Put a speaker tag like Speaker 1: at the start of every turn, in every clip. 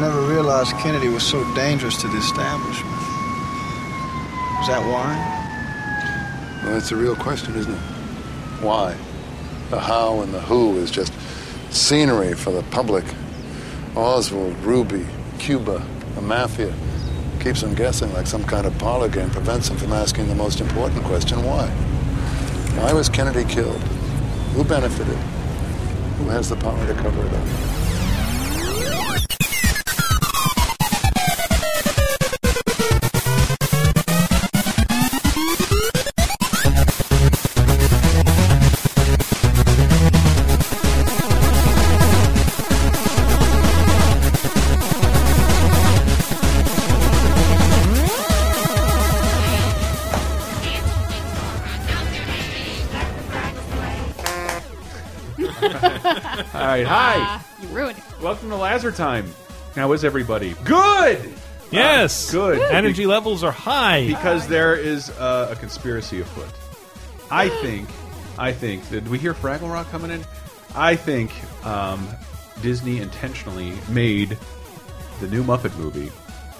Speaker 1: never realized Kennedy was so dangerous to the establishment. Is that why?
Speaker 2: Well, that's the real question, isn't it? Why? The how and the who is just scenery for the public. Oswald, Ruby, Cuba, the mafia. Keeps them guessing like some kind of parlor game, prevents them from asking the most important question why? Why was Kennedy killed? Who benefited? Who has the power to cover it up?
Speaker 3: All right, hi.
Speaker 4: Uh, You ruined it.
Speaker 3: Welcome to Lazar Time. How is everybody? Good. Uh,
Speaker 5: Yes.
Speaker 3: Good.
Speaker 5: Energy levels are high.
Speaker 3: because there is uh, a conspiracy afoot. I think, I think. Did we hear Fraggle Rock coming in? I think um, Disney intentionally made the new Muppet movie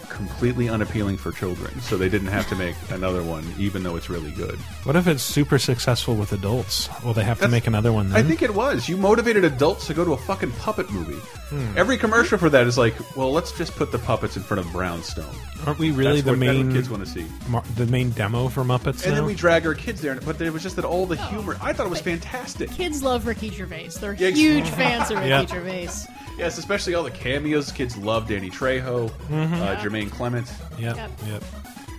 Speaker 3: completely unappealing for children, so they didn't have to make another one, even though it's really good.
Speaker 5: What if it's super successful with adults? Will they have to
Speaker 3: That's-
Speaker 5: make another one then?
Speaker 3: I think it was. You motivated adults to go to a fucking puppet movie.
Speaker 5: Hmm.
Speaker 3: Every commercial for that is like, well, let's just put the puppets in front of Brownstone.
Speaker 5: Aren't we really
Speaker 3: That's
Speaker 5: the
Speaker 3: what- that's what
Speaker 5: main
Speaker 3: kids want to see.
Speaker 5: mar- the main demo for Muppets
Speaker 3: And
Speaker 5: now?
Speaker 3: then we drag our kids there, but it was just that all the humor. I thought it was fantastic.
Speaker 4: Kids love Ricky Gervais. They're
Speaker 3: Yeah, ex-
Speaker 4: huge fans of Ricky
Speaker 5: Yeah.
Speaker 4: Gervais.
Speaker 3: Yes, especially all the cameos. Kids love Danny Trejo,
Speaker 5: Mm-hmm.
Speaker 3: uh, Jermaine Clement.
Speaker 5: Yep.
Speaker 4: Yep.
Speaker 5: Yep.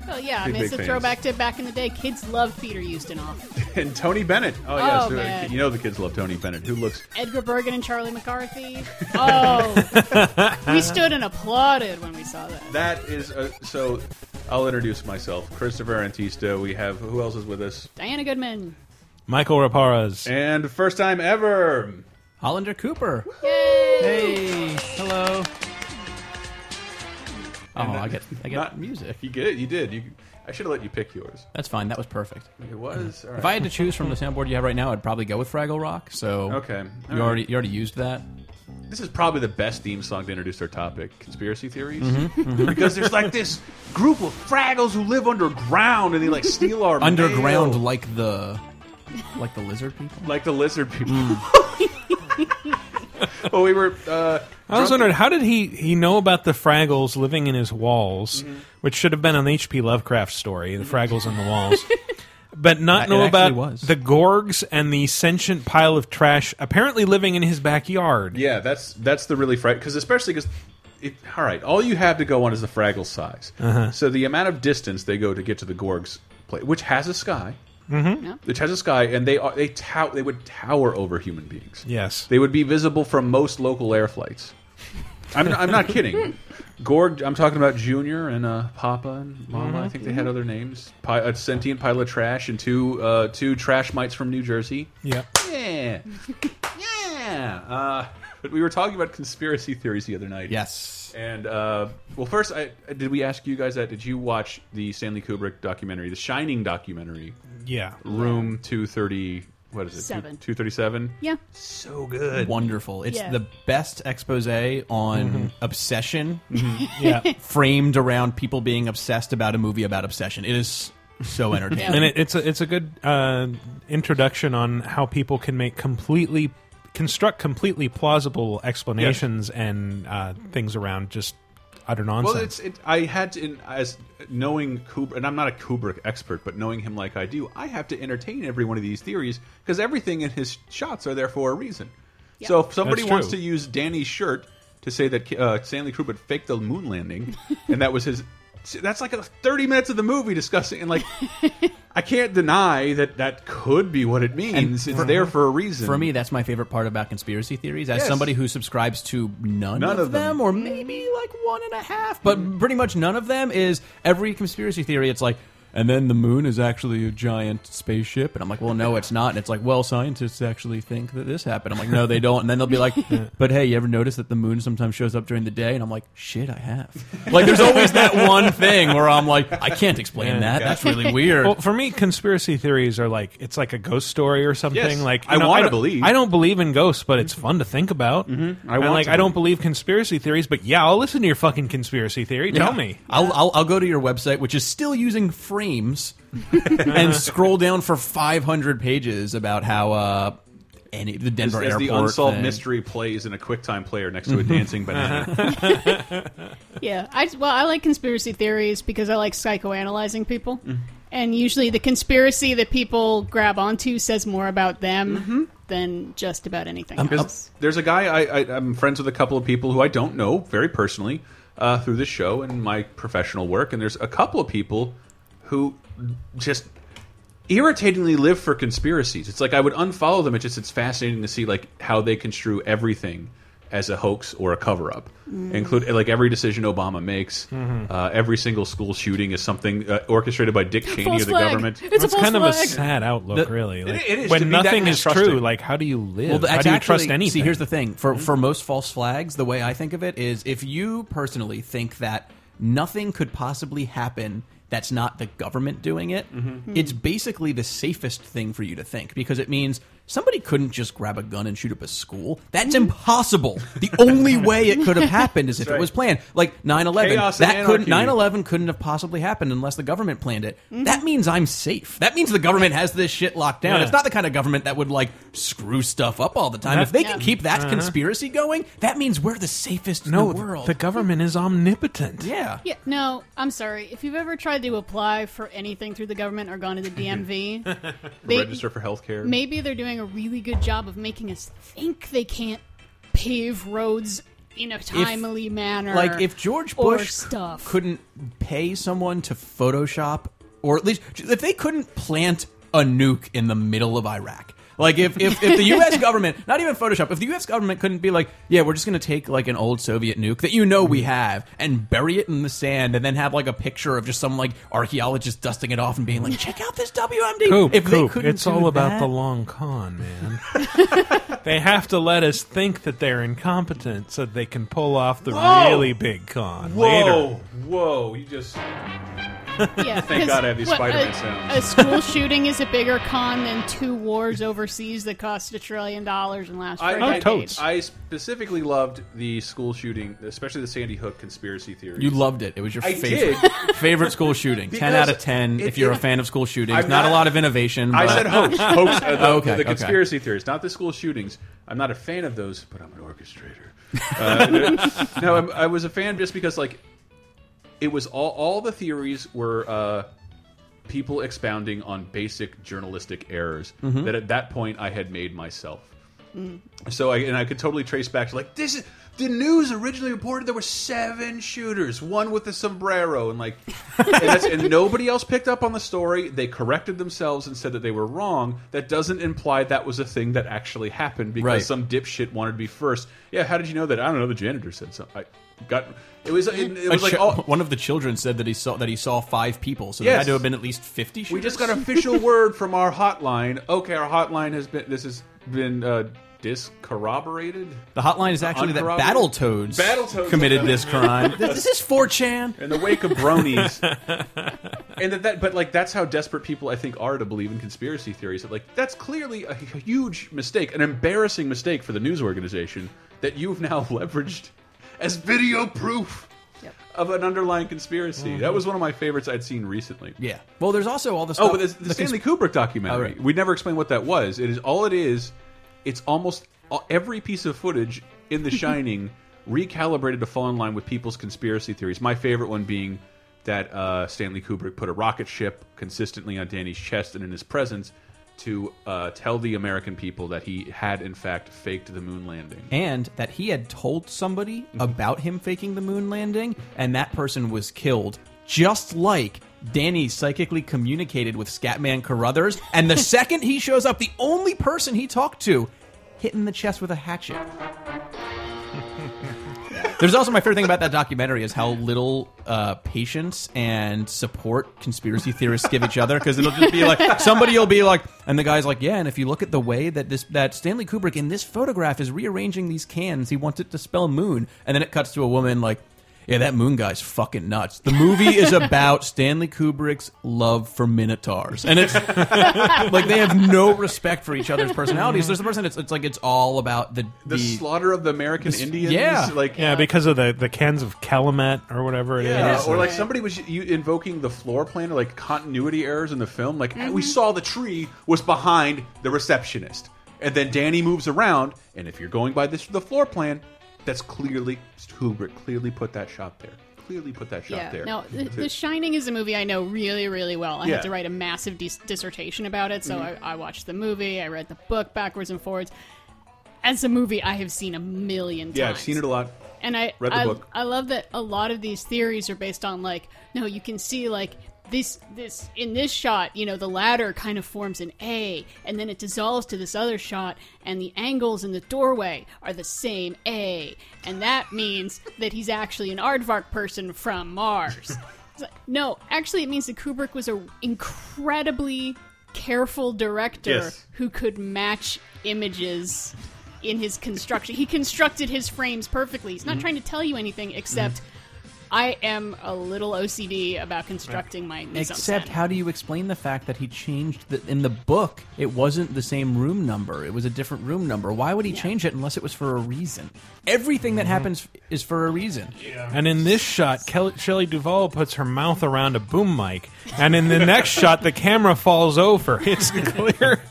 Speaker 4: Well, yeah, I
Speaker 3: Big,
Speaker 4: mean, it's
Speaker 3: big
Speaker 4: a
Speaker 3: fans.
Speaker 4: throwback to back in the day. Kids loved Peter Ustinov,
Speaker 3: and Tony Bennett. Oh,
Speaker 4: Oh,
Speaker 3: yes,
Speaker 4: man.
Speaker 3: you know the kids love Tony Bennett, who looks
Speaker 4: Edgar Bergen, and Charlie McCarthy. Oh, we stood and applauded when we saw that.
Speaker 3: that is a, so. I'll introduce myself, Christopher Antista. We have who else is with us?
Speaker 4: Diana Goodman.
Speaker 5: Michael Raparas.
Speaker 3: And first time ever,
Speaker 6: Hollander Cooper.
Speaker 4: Yay!
Speaker 6: Hey, hello. Oh, I get, I get
Speaker 3: uh, Not-
Speaker 6: music.
Speaker 3: You get it. You did. You, I should have let you pick yours.
Speaker 6: That's fine. That was perfect.
Speaker 3: It was. all
Speaker 6: If I
Speaker 3: right.
Speaker 6: had to choose from the soundboard you have right now, I'd probably go with Fraggle Rock. So
Speaker 3: Okay.
Speaker 6: you already you already used that.
Speaker 3: This is probably the best theme song to introduce our topic, conspiracy theories, because there's like this group of Fraggles who live underground and they like steal our
Speaker 6: Underground,
Speaker 3: mail.
Speaker 6: like the like the lizard people.
Speaker 3: like the lizard people. well, we were. Uh,
Speaker 5: I
Speaker 3: drunk-
Speaker 5: was wondering how did he he know about the Fraggles living in his walls,
Speaker 3: Mm-hmm.
Speaker 5: which should have been an H.P. Lovecraft story, the Fraggles in the walls, but not
Speaker 6: It
Speaker 5: know
Speaker 6: actually
Speaker 5: about
Speaker 6: was.
Speaker 5: the Gorgs and the sentient pile of trash apparently living in his backyard.
Speaker 3: Yeah, that's that's the really fright because especially because. all right, all you have to go on is the Fraggle size. So the amount of distance they go to get to the Gorg's place, which has a sky,
Speaker 4: Yeah.
Speaker 3: which has a sky, and they are they tout they would tower over human beings.
Speaker 5: Yes.
Speaker 3: They would be visible from most local air flights. I'm, I'm not kidding. Gorg, I'm talking about Junior and uh, Papa and Mama. I think they had other names. Pi a sentient pile of trash and two uh, two trash mites from New Jersey.
Speaker 5: Yep.
Speaker 3: Yeah, yeah. Uh, but we were talking about conspiracy theories the other night.
Speaker 6: Yes.
Speaker 3: And uh, well, first, I, did we ask you guys that? Did you watch the Stanley Kubrick documentary, the Shining documentary,
Speaker 5: Yeah.
Speaker 3: Room Two Thirty? What is it?
Speaker 4: Seven.
Speaker 3: Two thirty seven.
Speaker 4: Yeah.
Speaker 3: So good.
Speaker 6: Wonderful. It's
Speaker 4: Yeah.
Speaker 6: the best expose on
Speaker 3: Mm-hmm.
Speaker 6: obsession
Speaker 5: Yeah.
Speaker 6: framed around people being obsessed about a movie about obsession. It is so entertaining.
Speaker 5: and it, it's a it's a good uh, introduction on how people can make completely construct completely plausible explanations and uh, things around just utter nonsense.
Speaker 3: Well, it's it, I had to in, as knowing Kubrick, and I'm not a Kubrick expert, but knowing him like I do, I have to entertain every one of these theories because everything in his shots are there for a reason. So if somebody
Speaker 5: That's
Speaker 3: wants to
Speaker 5: true.
Speaker 3: use Danny's shirt to say that uh, Stanley Kubrick faked the moon landing, and that was his, that's like a 30 minutes of the movie discussing and like. I can't deny that that could be what it means. it's there for a reason.
Speaker 6: For me, that's my favorite part about conspiracy theories. As
Speaker 3: Yes.
Speaker 6: somebody who subscribes to none,
Speaker 3: None
Speaker 6: of,
Speaker 3: of them.
Speaker 6: them, or maybe like one and a half, but pretty much none of them is every conspiracy theory. It's like And then the moon is actually a giant spaceship. And I'm like, well, no, it's not. And it's like, well, scientists actually think that this happened. I'm like, no, they don't. And then they'll be like, but hey, you ever notice that the moon sometimes shows up during the day? And I'm like, shit, I have. Like, there's always that one thing where I'm like, I can't explain that. That's really weird.
Speaker 5: Well, for me, conspiracy theories are like it's like a ghost story or something.
Speaker 3: Yes.
Speaker 5: like you
Speaker 3: I
Speaker 5: know,
Speaker 3: wanna
Speaker 5: don't-
Speaker 3: believe.
Speaker 5: I don't believe in ghosts, but it's fun to think about. Mm-hmm.
Speaker 3: I
Speaker 5: and
Speaker 3: want
Speaker 5: like
Speaker 3: to.
Speaker 5: I don't believe conspiracy theories, but yeah, I'll listen to your fucking conspiracy theory. Tell
Speaker 6: Yeah.
Speaker 5: me.
Speaker 6: I'll, I'll I'll go to your website, which is still using frames, and scroll down for 500 pages about how uh, any the
Speaker 3: As,
Speaker 6: Denver
Speaker 3: as
Speaker 6: airport
Speaker 3: the unsolved
Speaker 6: thing. Uh-huh.
Speaker 3: mystery plays in a QuickTime player next to a dancing banana.
Speaker 4: Yeah, I well, I like conspiracy theories because I like psychoanalyzing people, and usually the conspiracy that people grab onto says more about them than just about anything
Speaker 5: Um,
Speaker 4: else.
Speaker 3: Because there's a guy I, I, I'm friends with a couple of people who I don't know very personally uh, through this show and my professional work, and there's a couple of people who just irritatingly live for conspiracies. It's like I would unfollow them. It's just it's fascinating to see like how they construe everything as a hoax or a cover up,
Speaker 4: Mm.
Speaker 3: include like every decision Obama makes, uh, every single school shooting is something uh, orchestrated by Dick Cheney
Speaker 4: False
Speaker 3: or the
Speaker 4: flag.
Speaker 3: government.
Speaker 4: It's a
Speaker 5: It's
Speaker 4: false
Speaker 5: kind of a
Speaker 4: flag.
Speaker 5: sad outlook, really. Like,
Speaker 3: it is, to
Speaker 5: when
Speaker 3: be that
Speaker 5: nothing is
Speaker 3: mistrusting.
Speaker 5: true, like how do you live?
Speaker 6: Well,
Speaker 5: how
Speaker 6: that's
Speaker 5: do you
Speaker 6: actually-
Speaker 5: trust anything?
Speaker 6: See, here's the thing. For for most false flags, the way I think of it is if you personally think that nothing could possibly happen that's not the government doing it,
Speaker 5: Mm-hmm.
Speaker 6: it's basically the safest thing for you to think because it means somebody couldn't just grab a gun and shoot up a school. That's
Speaker 5: Mm-hmm.
Speaker 6: impossible. The only way it could have happened is if it was planned. Like 9/11,
Speaker 3: Chaos and
Speaker 6: that couldn't
Speaker 3: anarchy.
Speaker 6: 9/11 couldn't have possibly happened unless the government planned it. That means I'm safe. That means the government has this shit locked down.
Speaker 5: Yeah.
Speaker 6: It's not the kind of government that would like screw stuff up all the time.
Speaker 5: That-
Speaker 6: if they
Speaker 4: Yeah.
Speaker 6: can keep that conspiracy going, that means we're the safest
Speaker 5: Uh-huh. no,
Speaker 6: in the world.
Speaker 5: the government is omnipotent.
Speaker 6: yeah.
Speaker 4: Yeah, no, I'm sorry. If you've ever tried to apply for anything through the government or gone to the DMV, they,
Speaker 3: Register for healthcare.
Speaker 4: maybe they're doing a really good job of making us think they can't pave roads in a timely manner.
Speaker 6: Like if George
Speaker 4: or
Speaker 6: Bush
Speaker 4: stuff.
Speaker 6: couldn't pay someone to Photoshop, or at least if they couldn't plant a nuke in the middle of Iraq. Like if, if, if the U.S. government, not even Photoshop, if the U.S. government couldn't be like, yeah, we're just going to take like an old Soviet nuke that you know we
Speaker 4: Mm-hmm.
Speaker 6: have and bury it in the sand, and then have like a picture of just some like archaeologist dusting it off and being
Speaker 4: Mm-hmm.
Speaker 6: like, check out this WMD.
Speaker 5: Coop,
Speaker 6: if they
Speaker 5: Coop,
Speaker 6: couldn't,
Speaker 5: it's
Speaker 6: do
Speaker 5: all about
Speaker 6: that-
Speaker 5: the long con, man. they have to let us think that they're incompetent so they can pull off the
Speaker 3: Whoa!
Speaker 5: really big con later.
Speaker 3: Whoa, Oh whoa! You just
Speaker 4: yeah,
Speaker 3: Thank
Speaker 4: 'cause
Speaker 3: God I have these
Speaker 4: what,
Speaker 3: Spider-Man
Speaker 4: a,
Speaker 3: sounds.
Speaker 4: A school shooting is a bigger con than two wars overseas that cost a trillion dollars and last for a
Speaker 5: Oh,
Speaker 4: decade.
Speaker 5: totes.
Speaker 3: I specifically loved the school shooting, especially the Sandy Hook conspiracy theory.
Speaker 6: You loved it. It was your
Speaker 3: I
Speaker 6: favorite favorite school shooting. ten
Speaker 3: Because
Speaker 6: out of ten.
Speaker 3: it-
Speaker 6: If you're
Speaker 3: it-
Speaker 6: a fan of school shootings,
Speaker 3: I'm
Speaker 6: not, a
Speaker 3: not-
Speaker 6: lot of innovation.
Speaker 3: I
Speaker 6: but-
Speaker 3: said hoax, hoax, uh, the,
Speaker 6: Oh, Okay,
Speaker 3: the
Speaker 6: okay.
Speaker 3: conspiracy theories, not the school shootings. I'm not a fan of those, but I'm an orchestrator. Uh, no, I'm, I was a fan just because like it was all all the theories were uh, people expounding on basic journalistic errors that at that point I had made myself. So I and I could totally trace back to like this is the news originally reported there were seven shooters, one with a sombrero, and like and, that's, and nobody else picked up on the story. They corrected themselves and said that they were wrong. That doesn't imply that was a thing that actually happened because
Speaker 6: Right.
Speaker 3: some dipshit wanted to be first. Yeah, how did you know that? I don't know. The janitor said something. I got it was it, it
Speaker 6: A
Speaker 3: was like
Speaker 6: chi-
Speaker 3: all,
Speaker 6: one of the children said that he saw that he saw five people, so there
Speaker 3: Yes.
Speaker 6: had to have been at least fifty. Shooters.
Speaker 3: We just got official word from our hotline. Okay, our hotline has been. This has been uh, discorroborated.
Speaker 6: the hotline is actually that
Speaker 3: Uncorroborated.
Speaker 6: Battletoads,
Speaker 3: Battletoads
Speaker 6: committed
Speaker 3: did that.
Speaker 6: this crime. this, this is 4chan.
Speaker 3: in the wake of bronies. and that, that, but like that's how desperate people I think are to believe in conspiracy theories. That like that's clearly a huge mistake, an embarrassing mistake for the news organization that you've now leveraged as video proof of an underlying conspiracy. That was one of my favorites I'd seen recently.
Speaker 6: Yeah. Well, there's also all this.
Speaker 3: Oh, but the, the, Stanley Kubrick documentary.
Speaker 6: Oh, right.
Speaker 3: We never explained what that was. It is all it is. It's almost all, every piece of footage in The Shining recalibrated to fall in line with people's conspiracy theories. My favorite one being that uh, Stanley Kubrick put a rocket ship consistently on Danny's chest and in his presence to uh, tell the American people that he had in fact faked the moon landing.
Speaker 6: and that he had told somebody about him faking the moon landing, and that person was killed, just like Danny psychically communicated with Scatman Carruthers. And the second he shows up, the only person he talked to hit in the chest with a hatchet. There's also my favorite thing about that documentary is how little uh, patience and support conspiracy theorists give each other because it'll just be like somebody will be like, and the guy's like, yeah, and if you look at the way that this that Stanley Kubrick in this photograph is rearranging these cans, he wants it to spell moon, and then it cuts to a woman like. Yeah, that moon guy's fucking nuts. The movie is about Stanley Kubrick's love for minotaurs, and it's like they have no respect for each other's personalities. There's the person. It's, it's like it's all about the
Speaker 3: the, slaughter of the American Indians.
Speaker 6: yeah.
Speaker 3: like
Speaker 5: Yeah, because of the, the cans of Calumet or whatever it is.
Speaker 3: Yeah, or like somebody was you invoking the floor plan or like continuity errors in the film. Like we saw the tree was behind the receptionist, and then Danny moves around. And if you're going by this the floor plan, that's clearly Kubrick clearly put that shot there. Clearly put that shot
Speaker 4: yeah.
Speaker 3: there.
Speaker 4: No, The, the Shining is a movie I know really, really well. I
Speaker 3: Yeah. Mm-hmm.
Speaker 4: had to write a massive dis- dissertation about it, so I, I watched the movie, I read the book backwards and forwards. As a movie, I have seen a million times.
Speaker 3: yeah, I've seen it a lot.
Speaker 4: and I
Speaker 3: Read the
Speaker 4: I,
Speaker 3: book.
Speaker 4: I love that a lot of these theories are based on like no, you can see like this this in this shot, you know, the ladder kind of forms an A, and then it dissolves to this other shot, and the angles in the doorway are the same A, and that means that he's actually an aardvark person from Mars. It's like, no, actually, it means that Kubrick was an incredibly careful director
Speaker 3: Yes.
Speaker 4: who could match images in his construction. he constructed his frames perfectly. He's not
Speaker 6: Mm-hmm.
Speaker 4: trying to tell you anything except I am a little OCD about constructing my mise en
Speaker 6: Except,
Speaker 4: scène.
Speaker 6: how do you explain the fact that he changed the, in the book? It wasn't the same room number; it was a different room number. Why would he change it unless it was for a reason? Everything
Speaker 3: Mm-hmm.
Speaker 6: that happens is for a reason.
Speaker 5: And in this shot, Kelly, Shelley Duvall puts her mouth around a boom mic, and in the next shot, the camera falls over. It's clear.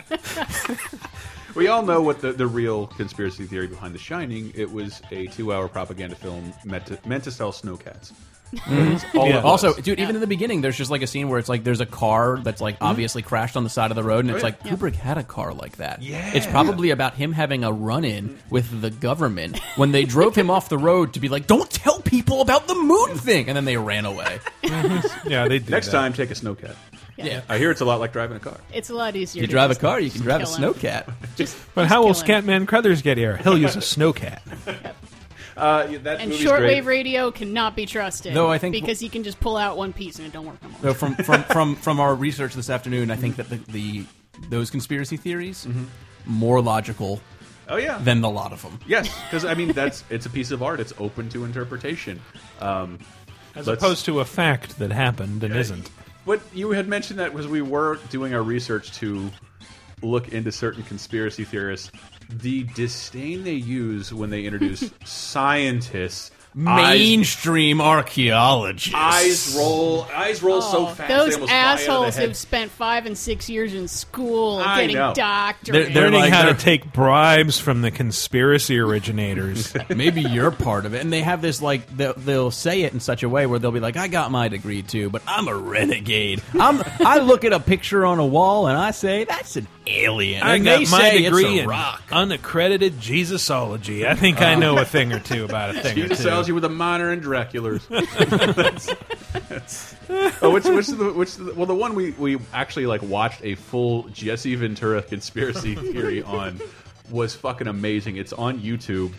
Speaker 3: We all know what the, the real conspiracy theory behind The Shining. It was a two-hour propaganda film meant to, meant to sell snowcats.
Speaker 5: Mm-hmm.
Speaker 3: That's all it was.
Speaker 6: Also, dude, even in the beginning, there's just like a scene where it's like there's a car that's like obviously crashed on the side of the road, and it's
Speaker 3: Mm-hmm. Oh, yeah.
Speaker 6: like Kubrick had a car like that.
Speaker 3: Yeah.
Speaker 6: it's probably about him having a run-in with the government when they drove him off the road to be like, "Don't tell people about the moon thing," and then they ran away.
Speaker 5: yeah, they did.
Speaker 3: next time take a snowcat.
Speaker 6: yeah.
Speaker 3: I hear it's a lot like driving a car.
Speaker 4: It's a lot easier.
Speaker 6: You
Speaker 4: to
Speaker 6: drive a
Speaker 4: just-
Speaker 6: car, you can
Speaker 4: just
Speaker 6: drive a
Speaker 4: kill him.
Speaker 6: snowcat.
Speaker 4: Just-
Speaker 5: But
Speaker 4: just
Speaker 5: how will
Speaker 4: kill him.
Speaker 5: Scatman Crothers get here? He'll use a snowcat.
Speaker 3: Uh, yeah, that
Speaker 4: And
Speaker 3: movie's great.
Speaker 4: shortwave radio cannot be trusted.
Speaker 6: Though I think-
Speaker 4: because you can just pull out one piece and it don't work no more.
Speaker 6: So from from from from our research this afternoon, I think that the, the those conspiracy theories more logical
Speaker 3: Oh yeah.
Speaker 6: than the lot of them.
Speaker 3: Yes, because I mean that's it's a piece of art. It's open to interpretation. Um,
Speaker 5: As
Speaker 3: let's-
Speaker 5: opposed to a fact that happened and isn't.
Speaker 3: what you had mentioned that was we were doing our research to look into certain conspiracy theorists. The disdain they use when they introduce scientists. Eyes,
Speaker 6: Mainstream archaeologists.
Speaker 3: eyes roll. Eyes roll so
Speaker 4: Oh,
Speaker 3: fast. they
Speaker 4: those
Speaker 3: almost fly out of the
Speaker 4: assholes
Speaker 3: head.
Speaker 4: have spent five and six years in school
Speaker 3: I
Speaker 4: getting
Speaker 3: know.
Speaker 4: doctorates.
Speaker 6: They're
Speaker 5: Learning
Speaker 6: like-
Speaker 5: how to
Speaker 6: they're-
Speaker 5: take bribes from the conspiracy originators.
Speaker 6: Maybe you're part of it, and they have this like they'll, they'll say it in such a way where they'll be like, "I got my degree too, but I'm a renegade. I'm I look at a picture on a wall and I say that's an alien,
Speaker 5: I
Speaker 6: and
Speaker 5: got
Speaker 6: they
Speaker 5: my
Speaker 6: say
Speaker 5: degree
Speaker 6: it's a
Speaker 5: in
Speaker 6: rock." Uh,
Speaker 5: unaccredited Jesusology. I think I know a thing or two about a thing
Speaker 3: He
Speaker 5: or
Speaker 3: just
Speaker 5: two.
Speaker 3: sells you with a minor and Dracula's. That's- that's- oh, which which the which the, well the one we we actually like watched a full Jesse Ventura conspiracy theory on was fucking amazing. It's on YouTube.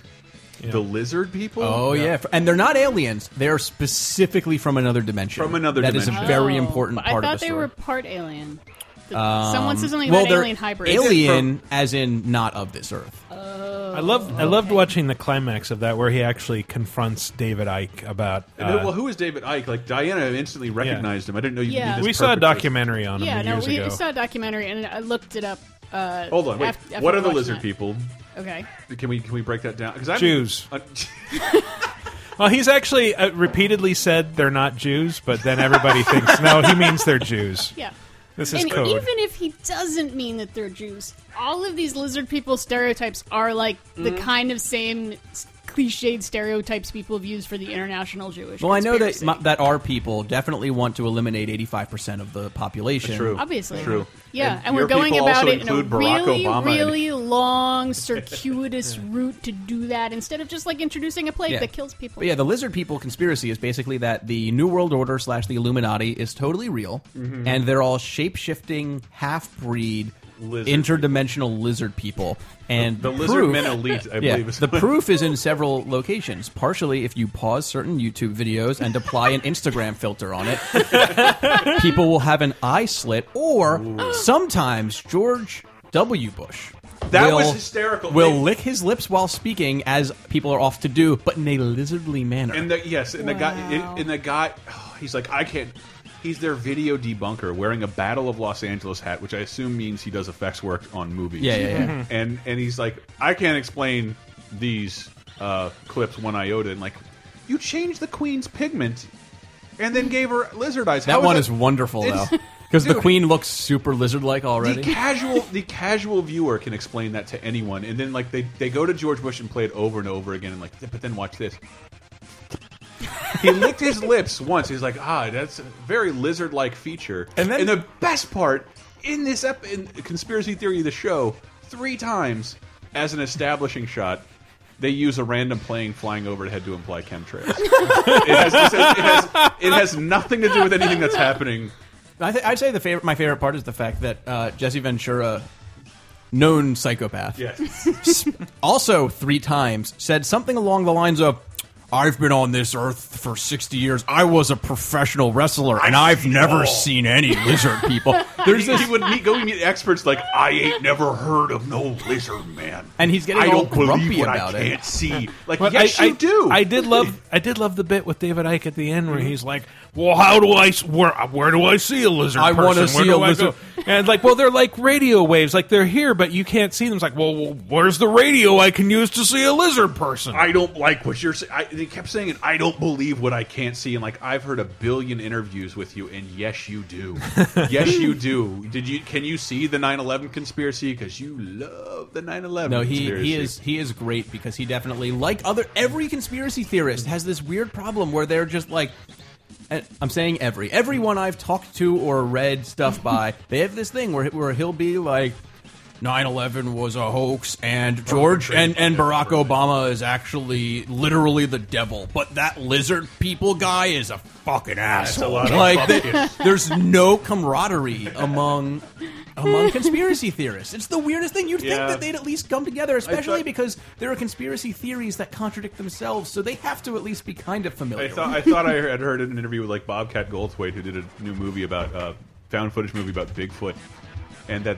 Speaker 3: The lizard people.
Speaker 6: Oh yeah. and they're not aliens. They are specifically from another dimension.
Speaker 3: From another
Speaker 6: That is
Speaker 3: dimension.
Speaker 6: a very
Speaker 4: Oh,
Speaker 6: important
Speaker 4: but
Speaker 6: part
Speaker 4: I thought
Speaker 6: of the
Speaker 4: they
Speaker 6: story. Um,
Speaker 4: were part alien. The- Someone said something
Speaker 6: well,
Speaker 4: about
Speaker 6: they're
Speaker 4: alien hybrids.
Speaker 6: Alien, as in not of this earth.
Speaker 5: I loved I loved watching the climax of that where he actually confronts David Ike about.
Speaker 3: And then,
Speaker 5: uh,
Speaker 3: well, who is David Ike? Like Diana instantly recognized him. I didn't know you.
Speaker 4: Yeah.
Speaker 3: Could be this
Speaker 5: we saw a
Speaker 3: perfect-
Speaker 5: documentary on him
Speaker 4: Yeah, no,
Speaker 5: years
Speaker 4: we
Speaker 5: ago.
Speaker 4: saw a documentary and I looked it up. Uh,
Speaker 3: Hold on, wait.
Speaker 4: af- after
Speaker 3: what are the
Speaker 4: watching
Speaker 3: lizard
Speaker 4: that.
Speaker 3: people?
Speaker 4: Okay.
Speaker 3: Can we can we break that down? Because I'm
Speaker 5: Jews.
Speaker 3: Uh,
Speaker 5: Well, he's actually uh, repeatedly said they're not Jews, but then everybody thinks no, he means they're Jews.
Speaker 4: Yeah.
Speaker 5: This is
Speaker 4: And
Speaker 5: code.
Speaker 4: even if he doesn't mean that they're Jews, all of these lizard people stereotypes are like the
Speaker 3: Mm-hmm.
Speaker 4: kind of same s- cliched stereotypes people have used for the international Jewish.
Speaker 6: Well, I know that
Speaker 4: conspiracy.
Speaker 6: my, that our people definitely want to eliminate eighty-five percent of the population.
Speaker 3: true.
Speaker 4: Obviously.
Speaker 3: True.
Speaker 4: Yeah, and,
Speaker 3: your
Speaker 4: we're going
Speaker 3: people
Speaker 4: about
Speaker 3: also
Speaker 4: it in a
Speaker 3: include Barack
Speaker 4: really,
Speaker 3: Obama and-
Speaker 4: really long, circuitous route to do that instead of just like introducing a plague
Speaker 6: Yeah.
Speaker 4: that kills people.
Speaker 6: But yeah, the lizard people conspiracy is basically that the New World Order
Speaker 3: Mm-hmm.
Speaker 6: slash the Illuminati is totally real, and they're all shape shifting half breed
Speaker 3: Lizard
Speaker 6: interdimensional lizard people, and
Speaker 3: the lizard
Speaker 6: proof-
Speaker 3: men elite, I
Speaker 6: yeah,
Speaker 3: believe is
Speaker 6: the proof is in several locations. Partially, if you pause certain YouTube videos and apply an Instagram filter on it, people will have an eye slit, or sometimes George W. Bush.
Speaker 3: That
Speaker 6: will,
Speaker 3: was hysterical.
Speaker 6: Will
Speaker 3: They-
Speaker 6: lick his lips while speaking, as people are off to do, but in a lizardly manner.
Speaker 3: And the yes, and the
Speaker 4: Wow.
Speaker 3: guy, and the guy, oh, he's like, I can't. He's their video debunker wearing a Battle of Los Angeles hat, which I assume means he does effects work on movies.
Speaker 6: Yeah, yeah, yeah.
Speaker 3: And and he's like, I can't explain these uh, clips one iota. And like, you changed the queen's pigment, and then gave her lizard eyes. How
Speaker 6: that one is
Speaker 3: that-
Speaker 6: wonderful
Speaker 3: It's-
Speaker 6: though, because the
Speaker 3: Dude.
Speaker 6: queen looks super lizard-like
Speaker 3: The
Speaker 6: already.
Speaker 3: casual, the casual viewer can explain that to anyone, and then like they they go to George Bush and play it over and over again, and like, but then watch this. he licked his lips once. He's like, ah, that's a very lizard-like feature.
Speaker 5: And then-
Speaker 3: the best part in this ep in conspiracy theory of the show, three times as an establishing shot. They use a random plane flying overhead to imply chemtrails. it, has, this has- it, has, it has nothing to do with anything that's happening.
Speaker 6: I th- I'd say the favorite, my favorite part is the fact that uh, Jesse Ventura, known psychopath,
Speaker 3: Yes.
Speaker 6: also three times said something along the lines of, "I've been on this earth for sixty years. I was a professional wrestler, and I've never seen any lizard people." There's
Speaker 3: he,
Speaker 6: this,
Speaker 3: he would meet, go meet experts like I ain't never heard of no lizard man,
Speaker 6: And he's getting
Speaker 3: I
Speaker 6: all
Speaker 3: don't believe
Speaker 6: grumpy
Speaker 3: what
Speaker 6: about
Speaker 3: I
Speaker 6: it.
Speaker 3: can't see. Like
Speaker 5: But
Speaker 3: yes,
Speaker 5: I,
Speaker 3: you
Speaker 5: I-
Speaker 3: do.
Speaker 5: I did love. I did love the bit with David Icke at the end where he's like, "Well, how do I? s- Where, where do I see a lizard?
Speaker 6: I wanna
Speaker 5: want to
Speaker 6: see a lizard."
Speaker 5: And like, well, they're like radio waves. Like they're here, but you can't see them. It's like, well, well, where's the radio I can use to see a lizard person?
Speaker 3: I don't like what you're saying. They kept saying it. I don't believe what I can't see. And like I've heard a billion interviews with you, and yes, you do. yes, you do. Did you? Can you see the 9/11 conspiracy? Because you love the 9/11.
Speaker 6: No, he,
Speaker 3: conspiracy.
Speaker 6: he is he is great because he definitely like other every conspiracy theorist has this weird problem where they're just like and I'm saying every everyone I've talked to or read stuff by they have this thing where where he'll be like 9/11 was a hoax and George and and Barack Obama is actually literally the devil but that lizard people guy is a fucking asshole
Speaker 3: a lot of
Speaker 6: like
Speaker 3: fucking-
Speaker 6: they- there's no camaraderie among among conspiracy theorists it's the weirdest thing you'd
Speaker 3: Yeah.
Speaker 6: think that they'd at least come together, especially
Speaker 3: thought-
Speaker 6: because there are conspiracy theories that contradict themselves, so they have to at least be kind of familiar.
Speaker 3: I thought I thought I had heard in an interview with like Bobcat Goldthwait, who did a new movie about uh, found footage movie about Bigfoot, and that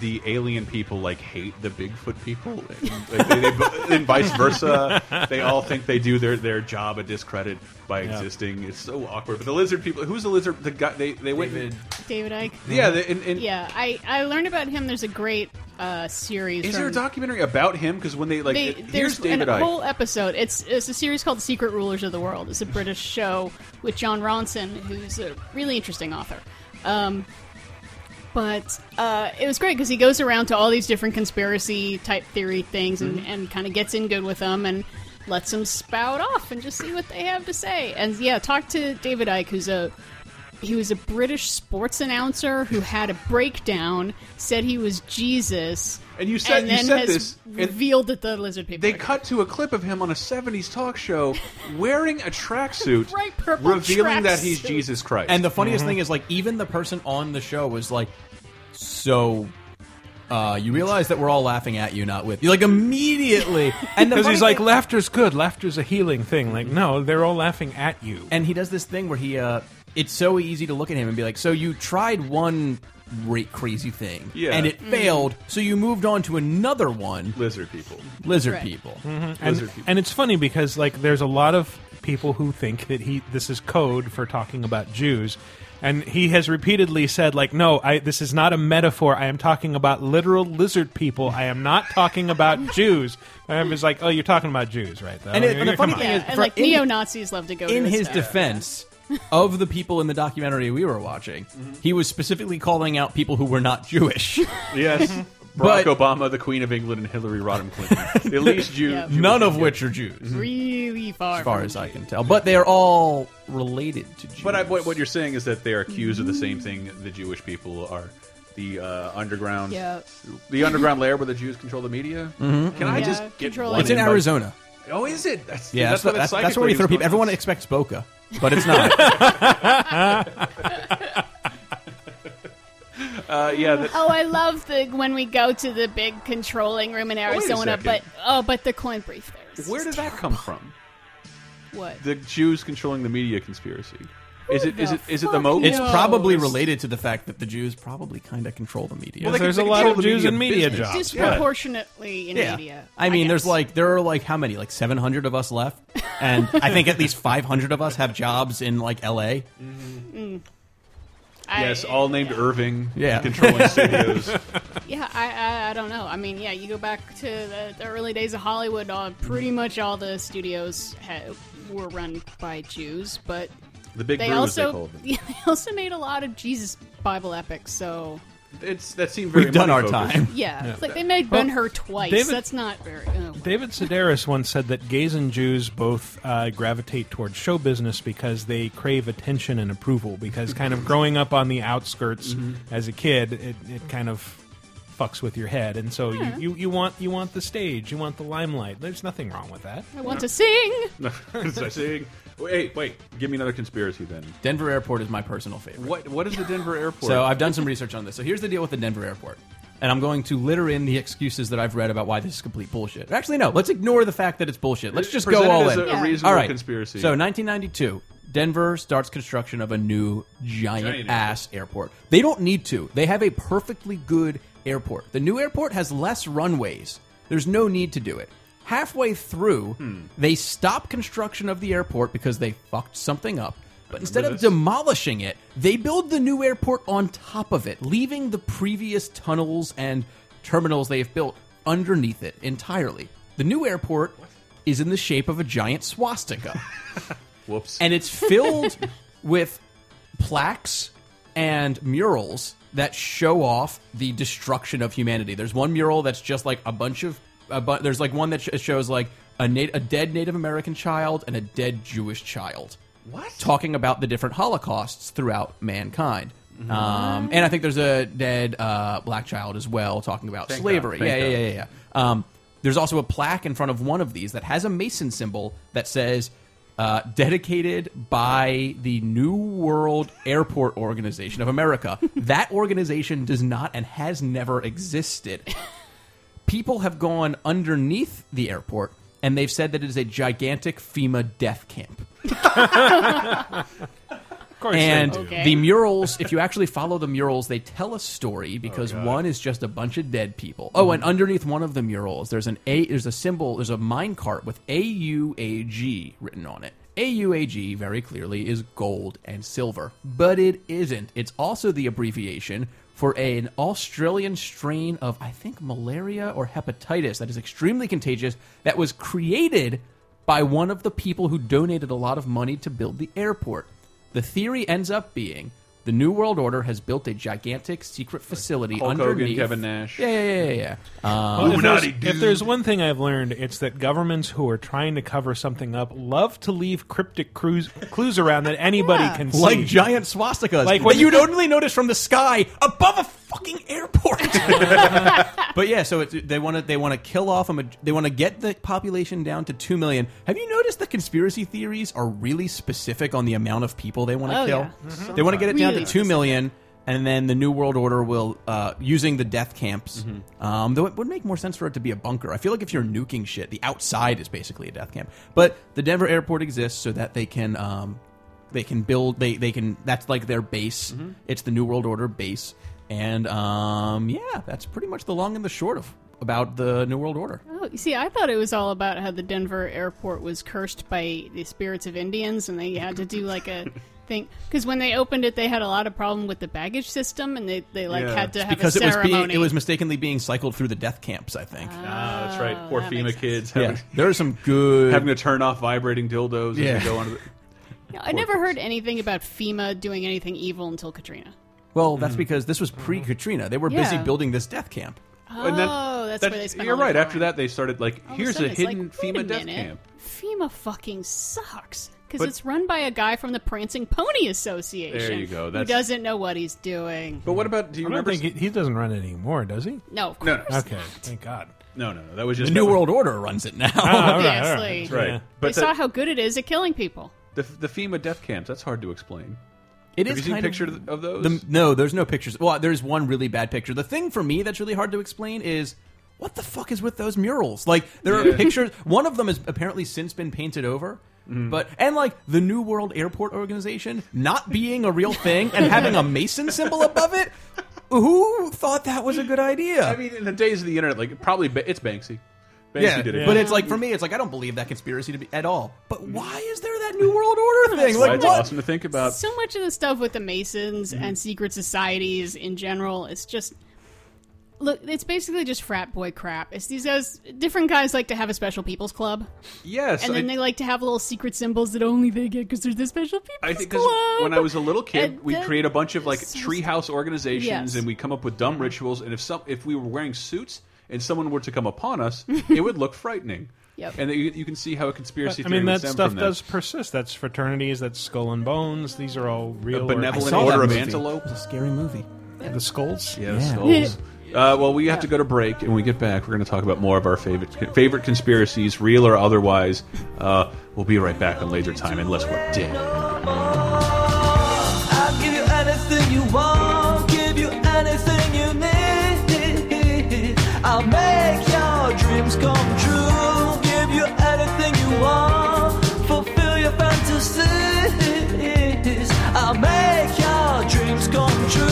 Speaker 3: the alien people like hate the Bigfoot people, and, like, they, they, and vice versa. They all think they do their their job a discredit by existing. It's so awkward. But the lizard people, who's the lizard? The guy they they went. and-
Speaker 4: David Icke.
Speaker 3: Yeah, they, and, and
Speaker 4: Yeah, I, I learned about him. There's a great uh, series.
Speaker 3: is
Speaker 4: from,
Speaker 3: there a documentary about him? Because when they like,
Speaker 4: They,
Speaker 3: it-
Speaker 4: there's
Speaker 3: here's David
Speaker 4: a
Speaker 3: Icke.
Speaker 4: whole episode. It's it's a series called Secret Rulers of the World. It's a British show with John Ronson, who's a really interesting author. Um, but uh, it was great because he goes around to all these different conspiracy type theory things and,
Speaker 3: Mm-hmm.
Speaker 4: and kind of gets in good with them and lets them spout off and just see what they have to say. And yeah, talk to David Icke, who's a he was a British sports announcer who had a breakdown, said he was Jesus,
Speaker 3: And you said-
Speaker 4: and
Speaker 3: you
Speaker 4: then
Speaker 3: said
Speaker 4: has
Speaker 3: this, and-
Speaker 4: revealed that the lizard people.
Speaker 3: They
Speaker 4: are-
Speaker 3: cut to a clip of him on a 70s talk show wearing a tracksuit,
Speaker 4: Bright purple
Speaker 3: revealing that he's
Speaker 4: tracksuit.
Speaker 3: Jesus Christ.
Speaker 6: and the funniest thing is, like, even the person on the show was like, "So." Uh, you realize that we're all laughing at you, not with you. Like immediately, and the
Speaker 5: Because he's
Speaker 6: funny
Speaker 5: like,
Speaker 6: thing-
Speaker 5: laughter's good. Laughter's a healing thing. Like, no, they're all laughing at you.
Speaker 6: and he does this thing where he uh it's so easy to look at him and be like so you tried one great crazy thing
Speaker 3: Yeah. Mm-hmm.
Speaker 6: and it failed so you moved on to another one
Speaker 3: lizard people.
Speaker 6: lizard
Speaker 4: Right.
Speaker 6: people
Speaker 5: Mm-hmm. and,
Speaker 3: lizard people.
Speaker 5: and it's funny because like there's a lot of people who think that he this is code for talking about Jews and he has repeatedly said like no I this is not a metaphor I am talking about literal lizard people I am not talking about Jews and I was like oh you're talking about Jews right though
Speaker 6: And it- and the funny
Speaker 5: Come on.
Speaker 6: thing
Speaker 4: Yeah,
Speaker 6: is,
Speaker 4: and
Speaker 6: for
Speaker 4: like
Speaker 6: any-
Speaker 4: neo Nazis love to go
Speaker 6: in
Speaker 4: to
Speaker 6: his
Speaker 4: stuff.
Speaker 6: defense of the people in the documentary we were watching,
Speaker 3: Mm-hmm.
Speaker 6: he was specifically calling out people who were not Jewish.
Speaker 3: Yes. Barack
Speaker 6: But-
Speaker 3: Obama, the Queen of England, and Hillary Rodham Clinton. the least Jew.
Speaker 4: Yep.
Speaker 3: Jew-
Speaker 6: None of which are
Speaker 3: Mm-hmm.
Speaker 6: Jews,
Speaker 4: really far.
Speaker 6: as far as I can tell. But they are all related to Jews.
Speaker 3: But I, what, what you're saying is that they are accused of the same
Speaker 4: Mm-hmm.
Speaker 3: thing the Jewish people are. The uh, underground,
Speaker 4: Yeah.
Speaker 3: the underground layer where the Jews control the media. Can I
Speaker 4: Yeah,
Speaker 3: just get
Speaker 4: control
Speaker 3: one
Speaker 4: it.
Speaker 6: Mm-hmm. it's in
Speaker 3: by-
Speaker 6: Arizona.
Speaker 3: Oh, is it? That's,
Speaker 6: Yeah,
Speaker 3: that's,
Speaker 6: that's,
Speaker 3: where
Speaker 6: the-
Speaker 3: that
Speaker 6: that's,
Speaker 3: psychic
Speaker 6: that's where we
Speaker 3: lady
Speaker 6: throw
Speaker 3: was
Speaker 6: people.
Speaker 3: going. Uh,
Speaker 6: Everyone expects Boca, but it's not.
Speaker 3: Uh, yeah, that,
Speaker 4: Oh, I love the when we go to the big controlling room in
Speaker 3: wait a
Speaker 4: Arizona,
Speaker 3: second.
Speaker 4: but oh, but the coin brief there. is
Speaker 3: where did
Speaker 4: just
Speaker 3: that come from?
Speaker 4: ter- what?
Speaker 3: The Jews controlling the media conspiracy. Is it is
Speaker 4: the
Speaker 3: it is it the
Speaker 4: fuck
Speaker 3: moat?
Speaker 6: It's
Speaker 4: No,
Speaker 6: probably
Speaker 4: it's-
Speaker 6: related to the fact that the Jews probably kind of control the media.
Speaker 3: Well, they
Speaker 5: there's
Speaker 3: can-
Speaker 5: a
Speaker 3: they
Speaker 5: lot
Speaker 3: control the
Speaker 5: of Jews
Speaker 3: media
Speaker 5: in media
Speaker 3: business.
Speaker 5: jobs.
Speaker 4: disproportionately in
Speaker 6: yeah.
Speaker 4: media.
Speaker 6: I mean, there's
Speaker 4: guess.
Speaker 6: like there are like how many like 700 of us left, and I think at least 500 of us have jobs in like L.A.
Speaker 4: I-
Speaker 3: Yes, all named Irving.
Speaker 6: Yeah.
Speaker 3: controlling studios.
Speaker 4: Yeah, I, I I don't know. I mean, yeah, you go back to the, the early days of Hollywood. Uh, pretty much all the studios ha- were run by Jews, but
Speaker 3: The big
Speaker 4: they
Speaker 3: brew, as they
Speaker 4: also
Speaker 3: called them.
Speaker 4: yeah, they also made a lot of Jesus Bible epics. So
Speaker 3: It's that seemed very.
Speaker 6: We've done our
Speaker 3: money-focused.
Speaker 6: time.
Speaker 4: yeah, it's like they made Ben Hur twice.
Speaker 5: David-
Speaker 4: That's not very. Oh, well.
Speaker 5: David Sedaris once said that gays and Jews both uh, gravitate towards show business because they crave attention and approval. Because kind of growing up on the outskirts
Speaker 6: Mm-hmm.
Speaker 5: as a kid, it, it kind of fucks with your head, and so you, you, you want you want the stage, you want the limelight. There's nothing wrong with that.
Speaker 4: I want to sing.
Speaker 3: It's like saying, wait, wait, give me another conspiracy then.
Speaker 6: Denver Airport is my personal favorite.
Speaker 3: What what is the Denver airport?
Speaker 6: So I've done some research on this. So here's the deal with the Denver airport. And I'm going to litter in the excuses that I've read about why this is complete bullshit. Actually, no. Let's ignore the fact that it's bullshit. Let's just go
Speaker 3: Present it
Speaker 6: all
Speaker 3: as
Speaker 6: in.
Speaker 3: A, a
Speaker 4: Yeah.
Speaker 3: reasonable
Speaker 6: all right.
Speaker 3: conspiracy.
Speaker 6: So 1992, Denver starts construction of a new giant,
Speaker 3: Giant
Speaker 6: ass airport. They don't need to. They have a perfectly good airport. The new airport has less runways. There's no need to do it. Halfway through,
Speaker 3: Hmm.
Speaker 6: they stop construction of the airport because they fucked something up. But instead of
Speaker 3: this.
Speaker 6: demolishing it, they build the new airport on top of it, leaving the previous tunnels and terminals they have built underneath it entirely. The new airport is in the shape of a giant swastika.
Speaker 3: whoops.
Speaker 6: and it's filled with plaques and murals that show off the destruction of humanity. There's one mural that's just like a bunch of a bu- there's like one that sh- shows like a, na- a dead Native American child and a dead Jewish child. What? Talking about the different holocausts throughout mankind. Um, and I think there's a dead uh, black child as well talking about
Speaker 3: Thank
Speaker 6: slavery.
Speaker 3: God.
Speaker 6: Yeah,
Speaker 3: Thank
Speaker 6: yeah,
Speaker 3: God.
Speaker 6: yeah, yeah, yeah, yeah. Um, there's also a plaque in front of one of these that has a Mason symbol that says uh, dedicated by the New World Airport Organization of America. that organization does not and has never existed. People have gone underneath the airport and they've said that it is a gigantic FEMA death camp.
Speaker 5: Of course,
Speaker 6: And
Speaker 5: they do.
Speaker 4: Okay.
Speaker 6: the murals, if you actually follow the murals, they tell a
Speaker 5: Oh,
Speaker 6: story because one is just a bunch of dead people. Oh,
Speaker 5: Mm-hmm.
Speaker 6: and underneath one of the murals, there's an a there's a symbol, there's a mine cart with A U A G written on it. A U A G very clearly is gold and silver, but it isn't. It's also the abbreviation for a- an Australian strain of I think malaria or hepatitis that is extremely contagious that was created by one of the people who donated a lot of money to build the airport. The theory ends up being the New World Order has built a gigantic secret facility
Speaker 3: Hulk Hogan,
Speaker 6: underneath
Speaker 3: Kevin Nash.
Speaker 6: Yeah, yeah, yeah, yeah, yeah. Um,
Speaker 5: Well, if, there's,
Speaker 3: Illuminati,
Speaker 5: if there's one thing I've learned, it's that governments who are trying to cover something up love to leave cryptic cruise, clues around that anybody can see.
Speaker 6: like giant swastikas
Speaker 5: Like
Speaker 6: like
Speaker 5: when-
Speaker 6: that you'd only notice from the sky above a fucking airport. but yeah, so it's they want to they want to kill off a ma- they want to get the population down to two million. Have you noticed the conspiracy theories are really specific on the amount of people they want to
Speaker 4: Oh,
Speaker 6: kill?
Speaker 4: yeah.
Speaker 3: Mm-hmm.
Speaker 6: They want to get it down
Speaker 4: Really
Speaker 6: to two million. And then the New World Order will, uh, using the death camps, um, though it would make more sense for it to be a bunker. I feel like if you're nuking shit, the outside is basically a death camp. But the Denver airport exists so that they can um, they can build they they can that's like their base it's the new world order base and um yeah that's pretty much the long and the short of about the new world order
Speaker 4: Oh, you see, I thought it was all about how the Denver airport was cursed by the spirits of Indians, and they had to do like a thing. Because when they opened it, they had a lot of problem with the baggage system, and they, they like
Speaker 3: Yeah.
Speaker 4: had to have
Speaker 6: because
Speaker 4: a
Speaker 6: it was
Speaker 4: ceremony. Uh,
Speaker 6: being it was mistakenly being cycled through the death camps i think
Speaker 3: Ah, that's right. Poor
Speaker 4: that
Speaker 3: FEMA
Speaker 4: makes sense.
Speaker 3: kids having,
Speaker 6: yeah there are some good
Speaker 3: having to turn off vibrating dildos
Speaker 6: Yeah.
Speaker 3: as they go under. The,
Speaker 4: No, I never heard anything about FEMA doing anything evil until Katrina.
Speaker 6: well
Speaker 3: Mm.
Speaker 6: that's because this was pre-katrina they were busy
Speaker 4: Yeah.
Speaker 6: building this death camp
Speaker 4: Oh,
Speaker 3: And that-
Speaker 4: that's,
Speaker 3: that-
Speaker 4: where they spent.
Speaker 3: You're
Speaker 4: all their
Speaker 3: right. After
Speaker 4: time.
Speaker 3: that, they started like,
Speaker 4: All of
Speaker 3: here's a
Speaker 4: sudden, it's like,
Speaker 3: hidden
Speaker 4: wait
Speaker 3: FEMA death
Speaker 4: minute.
Speaker 3: camp.
Speaker 4: FEMA fucking sucks because
Speaker 3: But-
Speaker 4: it's run by a guy from the Prancing Pony Association.
Speaker 3: There you go,
Speaker 4: Who
Speaker 3: that's-
Speaker 4: doesn't know what he's doing?
Speaker 3: But what about? Do you
Speaker 5: I don't
Speaker 3: remember?
Speaker 5: think he, he doesn't run it anymore, does he?
Speaker 4: No, of
Speaker 3: no,
Speaker 4: course.
Speaker 3: no,
Speaker 5: Okay, thank God.
Speaker 3: no, no, no. That was
Speaker 6: the
Speaker 3: just
Speaker 6: new
Speaker 3: that was-
Speaker 6: world order runs it now
Speaker 5: Ah,
Speaker 3: Ah.
Speaker 5: all right, all right.
Speaker 4: Obviously.
Speaker 5: That's
Speaker 3: Right.
Speaker 5: Yeah.
Speaker 3: But
Speaker 4: they saw
Speaker 3: that-
Speaker 4: how good it is at killing people.
Speaker 3: the, the FEMA death camps. That's hard to explain.
Speaker 6: It is
Speaker 3: Have you seen
Speaker 6: kind
Speaker 3: picture
Speaker 6: of,
Speaker 3: th- of those?
Speaker 6: The, no, there's no pictures. Well, there's one really bad picture. The thing for me that's really hard to explain is what the fuck is with those murals? Like there are
Speaker 3: Yeah.
Speaker 6: pictures. One of them has apparently since been painted over.
Speaker 3: Mm.
Speaker 6: But and like the New World Airport Organization not being a real thing and having a Mason symbol above it, who thought that was a good idea?
Speaker 3: I mean, in the days of the internet, like probably ba it's Banksy. Banksy did it.
Speaker 5: yeah.
Speaker 6: But it's like for me, it's like I don't believe that conspiracy to be at all. But why is there that New World Order thing?
Speaker 3: Well,
Speaker 6: Like
Speaker 3: Mm. it's
Speaker 6: what?
Speaker 3: awesome to think about.
Speaker 4: So much of the stuff with the Masons
Speaker 3: Mm-hmm.
Speaker 4: and secret societies in general is just look. It's basically just frat boy crap. It's these guys. Different guys like to have a special people's club,
Speaker 3: yes,
Speaker 4: and then
Speaker 3: I,
Speaker 4: they like to have little secret symbols that only they get because they're the special people's
Speaker 3: I think 'cause
Speaker 4: club.
Speaker 3: when I was a little kid,
Speaker 4: And
Speaker 3: we'd
Speaker 4: that-
Speaker 3: create a bunch of like
Speaker 4: so-
Speaker 3: treehouse organizations,
Speaker 4: Yes.
Speaker 3: and we'd come up with dumb rituals. And if some, if we were wearing suits and someone were to come upon us, it would look frightening.
Speaker 4: Yep.
Speaker 3: And you, you can see how a conspiracy.
Speaker 5: I
Speaker 3: theory
Speaker 5: mean,
Speaker 3: would
Speaker 5: that
Speaker 3: stem
Speaker 5: stuff
Speaker 3: from
Speaker 5: does persist. That's fraternities. That's Skull and Bones. These are all real.
Speaker 3: A
Speaker 5: or-
Speaker 6: I
Speaker 3: benevolent
Speaker 6: saw
Speaker 3: order
Speaker 6: that
Speaker 3: of
Speaker 6: movie.
Speaker 3: antelope.
Speaker 6: It's a scary movie.
Speaker 5: the skulls.
Speaker 3: Yeah, the skulls. Uh, well, we have to go to break, and when we get back, we're going to talk about more of our favorite favorite conspiracies, real or otherwise. Uh, we'll be right back on Laser Time, unless we're dead.
Speaker 7: I'll give you anything you want, give you anything you need. I'll make your dreams come true, give you anything you want, fulfill your fantasies. I'll make your dreams come true.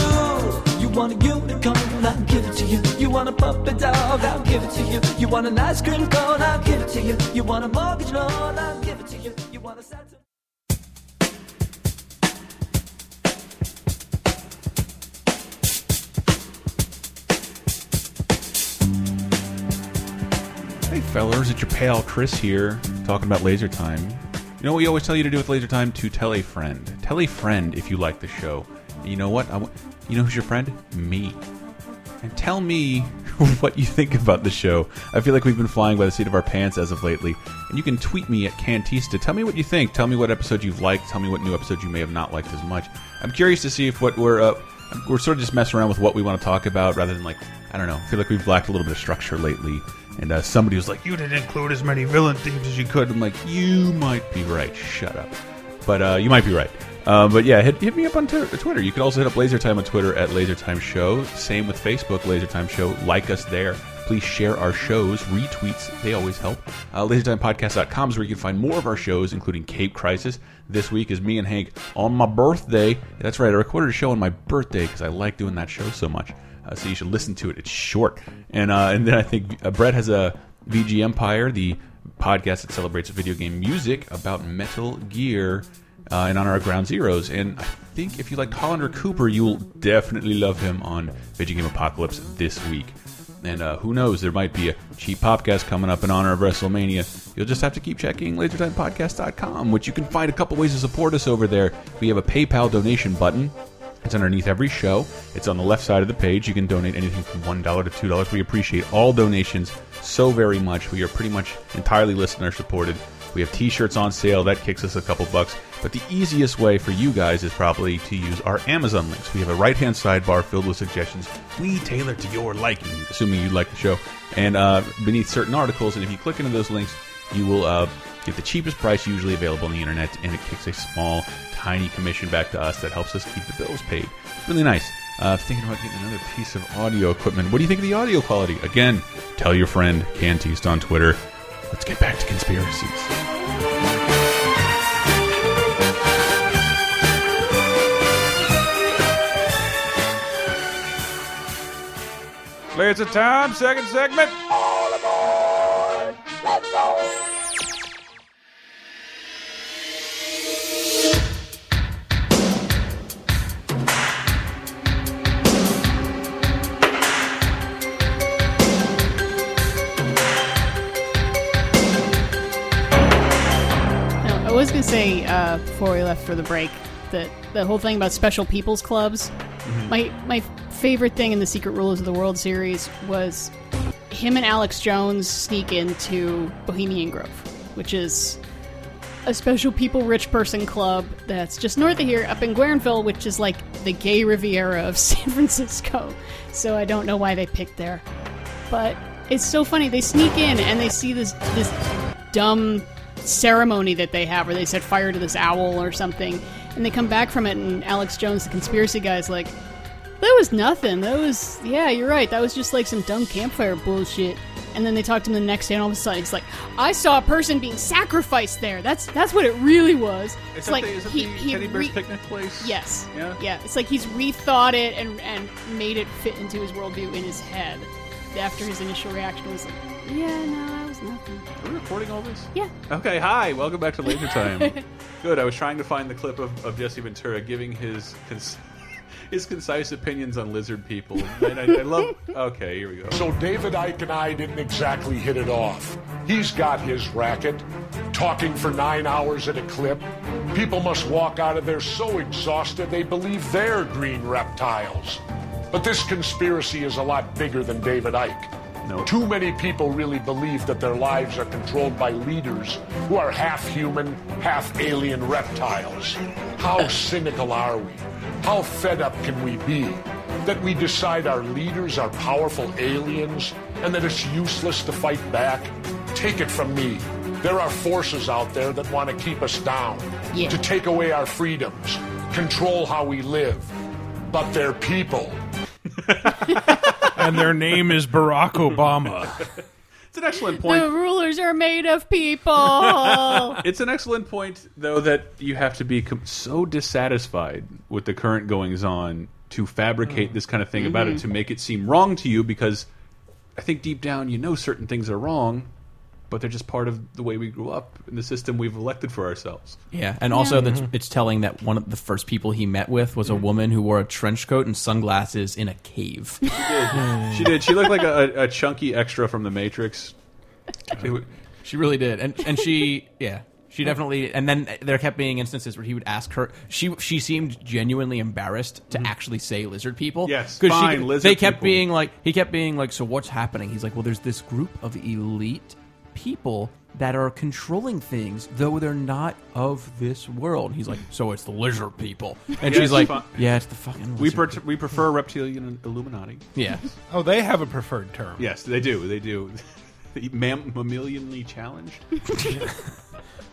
Speaker 7: You want a unicorn, I'll give it to you. You want a puppet dog, I'll give it to you. You want an ice cream cone, I'll give it to you. You want a mortgage loan, I'll give it to you. You want a Santa.
Speaker 3: Hey, fellers, it's your pal Chris here, talking about laser time. You know what we always tell you to do with laser time? To tell a friend. Tell a friend if you like the show. And you know what? I w- you know who's your friend? Me. And tell me what you think about the show. I feel like we've been flying by the seat of our pants as of lately. And you can tweet me at Cantista. Tell me what you think. Tell me what episode you've liked. Tell me what new episode you may have not liked as much. I'm curious to see if what we're uh, we're sort of just messing around with what we want to talk about rather than like I don't know. I feel like we've lacked a little bit of structure lately. And uh, somebody was like, "You didn't include as many villain themes as you could." I'm like, "You might be right. Shut up." but uh, you might be right. Uh, but yeah, hit, hit me up on t- Twitter. You can also hit up LaserTime on Twitter at LaserTime Show. Same with Facebook, LaserTime Show. Like us there. Please share our shows, retweets. They always help. Uh, LaserTimePodcast.com is where you can find more of our shows, including Cape Crisis. This week is me and Hank on my birthday. That's right, I recorded a show on my birthday because I like doing that show so much. Uh, so you should listen to it. It's short. And uh, and then I think uh, Brett has a VG Empire, the podcast that celebrates video game music about Metal Gear uh, and on our Ground Zeroes. And I think if you like Hollander Cooper, you'll definitely love him on Video Game Apocalypse this week. And uh, who knows, there might be a cheap podcast coming up in honor of WrestleMania. You'll just have to keep checking lasertimepodcast.com, which you can find a couple ways to support us over there. We have a PayPal donation button. It's underneath every show. It's on the left side of the page. You can donate anything from $1 to $2. We appreciate all donations so very much. We are pretty much entirely listener supported. We have t shirts on sale. That kicks us a couple bucks. But the easiest way for you guys is probably to use our Amazon links. We have a right hand sidebar filled with suggestions we tailor to your liking, assuming you like the show, and uh, beneath certain articles. And if you click into those links, you will uh, get the cheapest price usually available on the internet, and it kicks a small, tiny commission back to us that helps us keep the bills paid. Really nice. Uh, thinking about getting another piece of audio equipment. What do you think of the audio quality? Again, tell your friend Cantiste on Twitter. Let's get back to conspiracies. Laser time, second segment.
Speaker 4: No, I was gonna say uh, before we left for the break that the whole thing about special people's clubs. My my favorite thing in the Secret Rulers of the World series was him and Alex Jones sneak into Bohemian Grove, which is a special people rich person club that's just north of here, up in Guerneville, which is like the gay Riviera of San Francisco. So I don't know why they picked there, but it's so funny. They sneak in and they see this this dumb ceremony that they have where they set fire to this owl or something And they come back from it, and Alex Jones, the conspiracy guy, is like, that was nothing. That was, yeah, you're right. That was just like some dumb campfire bullshit. And then they talk to him the next day, and all of a sudden he's like, I saw a person being sacrificed there. That's that's what it really was.
Speaker 3: Is that
Speaker 4: like
Speaker 3: the, is that the Teddy Bear's
Speaker 4: re-
Speaker 3: picnic place?
Speaker 4: Yes.
Speaker 3: Yeah?
Speaker 4: It's like he's rethought it and and made it fit into his worldview in his head. After his initial reaction was like, Yeah, no, that was nothing.
Speaker 3: Are we recording all this?
Speaker 4: Yeah.
Speaker 3: Okay, hi. Welcome back to Laser Time. Good. I was trying to find the clip of, of Jesse Ventura giving his cons- his concise opinions on lizard people. And I, I love. Okay, here we go.
Speaker 8: So David Icke and I didn't exactly hit it off. He's got his racket, talking for nine hours at a clip. People must walk out of there so exhausted they believe they're green reptiles. But this conspiracy is a lot bigger than David Icke.
Speaker 3: No.
Speaker 8: Too many people really believe that their lives are controlled by leaders who are half human, half alien reptiles. How cynical are we? How fed up can we be? That we decide our leaders are powerful aliens and that it's useless to fight back? Take it from me. There are forces out there that want to keep us down,
Speaker 4: Yeah.
Speaker 8: to take away our freedoms, control how we live. But they're people.
Speaker 5: and their name is Barack Obama.
Speaker 3: It's an excellent
Speaker 4: The
Speaker 3: point.
Speaker 4: rulers are made of people.
Speaker 3: It's an excellent point, though, that you have to be com- so dissatisfied with the current goings on to fabricate this kind of thing about it to make it seem wrong to you because I think deep down you know certain things are wrong, but they're just part of the way we grew up and the system we've elected for ourselves.
Speaker 6: Yeah, and also that's it's telling that one of the first people he met with was a woman who wore a trench coat and sunglasses in a cave.
Speaker 3: She did. She looked like a, a chunky extra from The Matrix. It wa-
Speaker 6: she really did, and and she yeah. She definitely, and then there kept being instances where he would ask her. She she seemed genuinely embarrassed to actually say lizard people.
Speaker 3: Mm-hmm. Yes,
Speaker 6: 'Cause
Speaker 3: fine,
Speaker 6: she,
Speaker 3: lizard
Speaker 6: They kept
Speaker 3: people.
Speaker 6: being like, he kept being like, so what's happening? He's like, well, there's this group of elite people that are controlling things, though they're not of this world. He's like, so it's the lizard people, and
Speaker 3: Yeah,
Speaker 6: she's
Speaker 3: it's
Speaker 6: like,
Speaker 3: fine.
Speaker 6: yeah, it's the fucking.
Speaker 3: We,
Speaker 6: lizard
Speaker 3: per- we prefer reptilian and Illuminati.
Speaker 6: Yeah.
Speaker 5: Oh, they have a preferred term.
Speaker 3: Yes, they do. They do. The Mam- mammalianly challenged.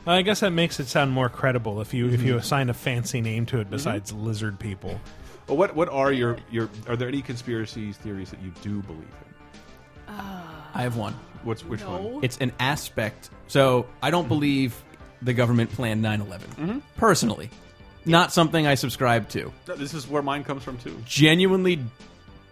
Speaker 5: Well, I guess that makes it sound more credible if you if
Speaker 3: Mm-hmm.
Speaker 5: you assign a fancy name to it besides lizard people.
Speaker 3: Well, what what are your your? Are there any conspiracy theories that you do believe in?
Speaker 6: I have one.
Speaker 3: What's which one?
Speaker 6: It's an aspect. So I don't believe the government planned 9 11.
Speaker 3: Mm-hmm.
Speaker 6: Personally, not something I subscribe to.
Speaker 3: No, This is where mine comes from too.
Speaker 6: Genuinely,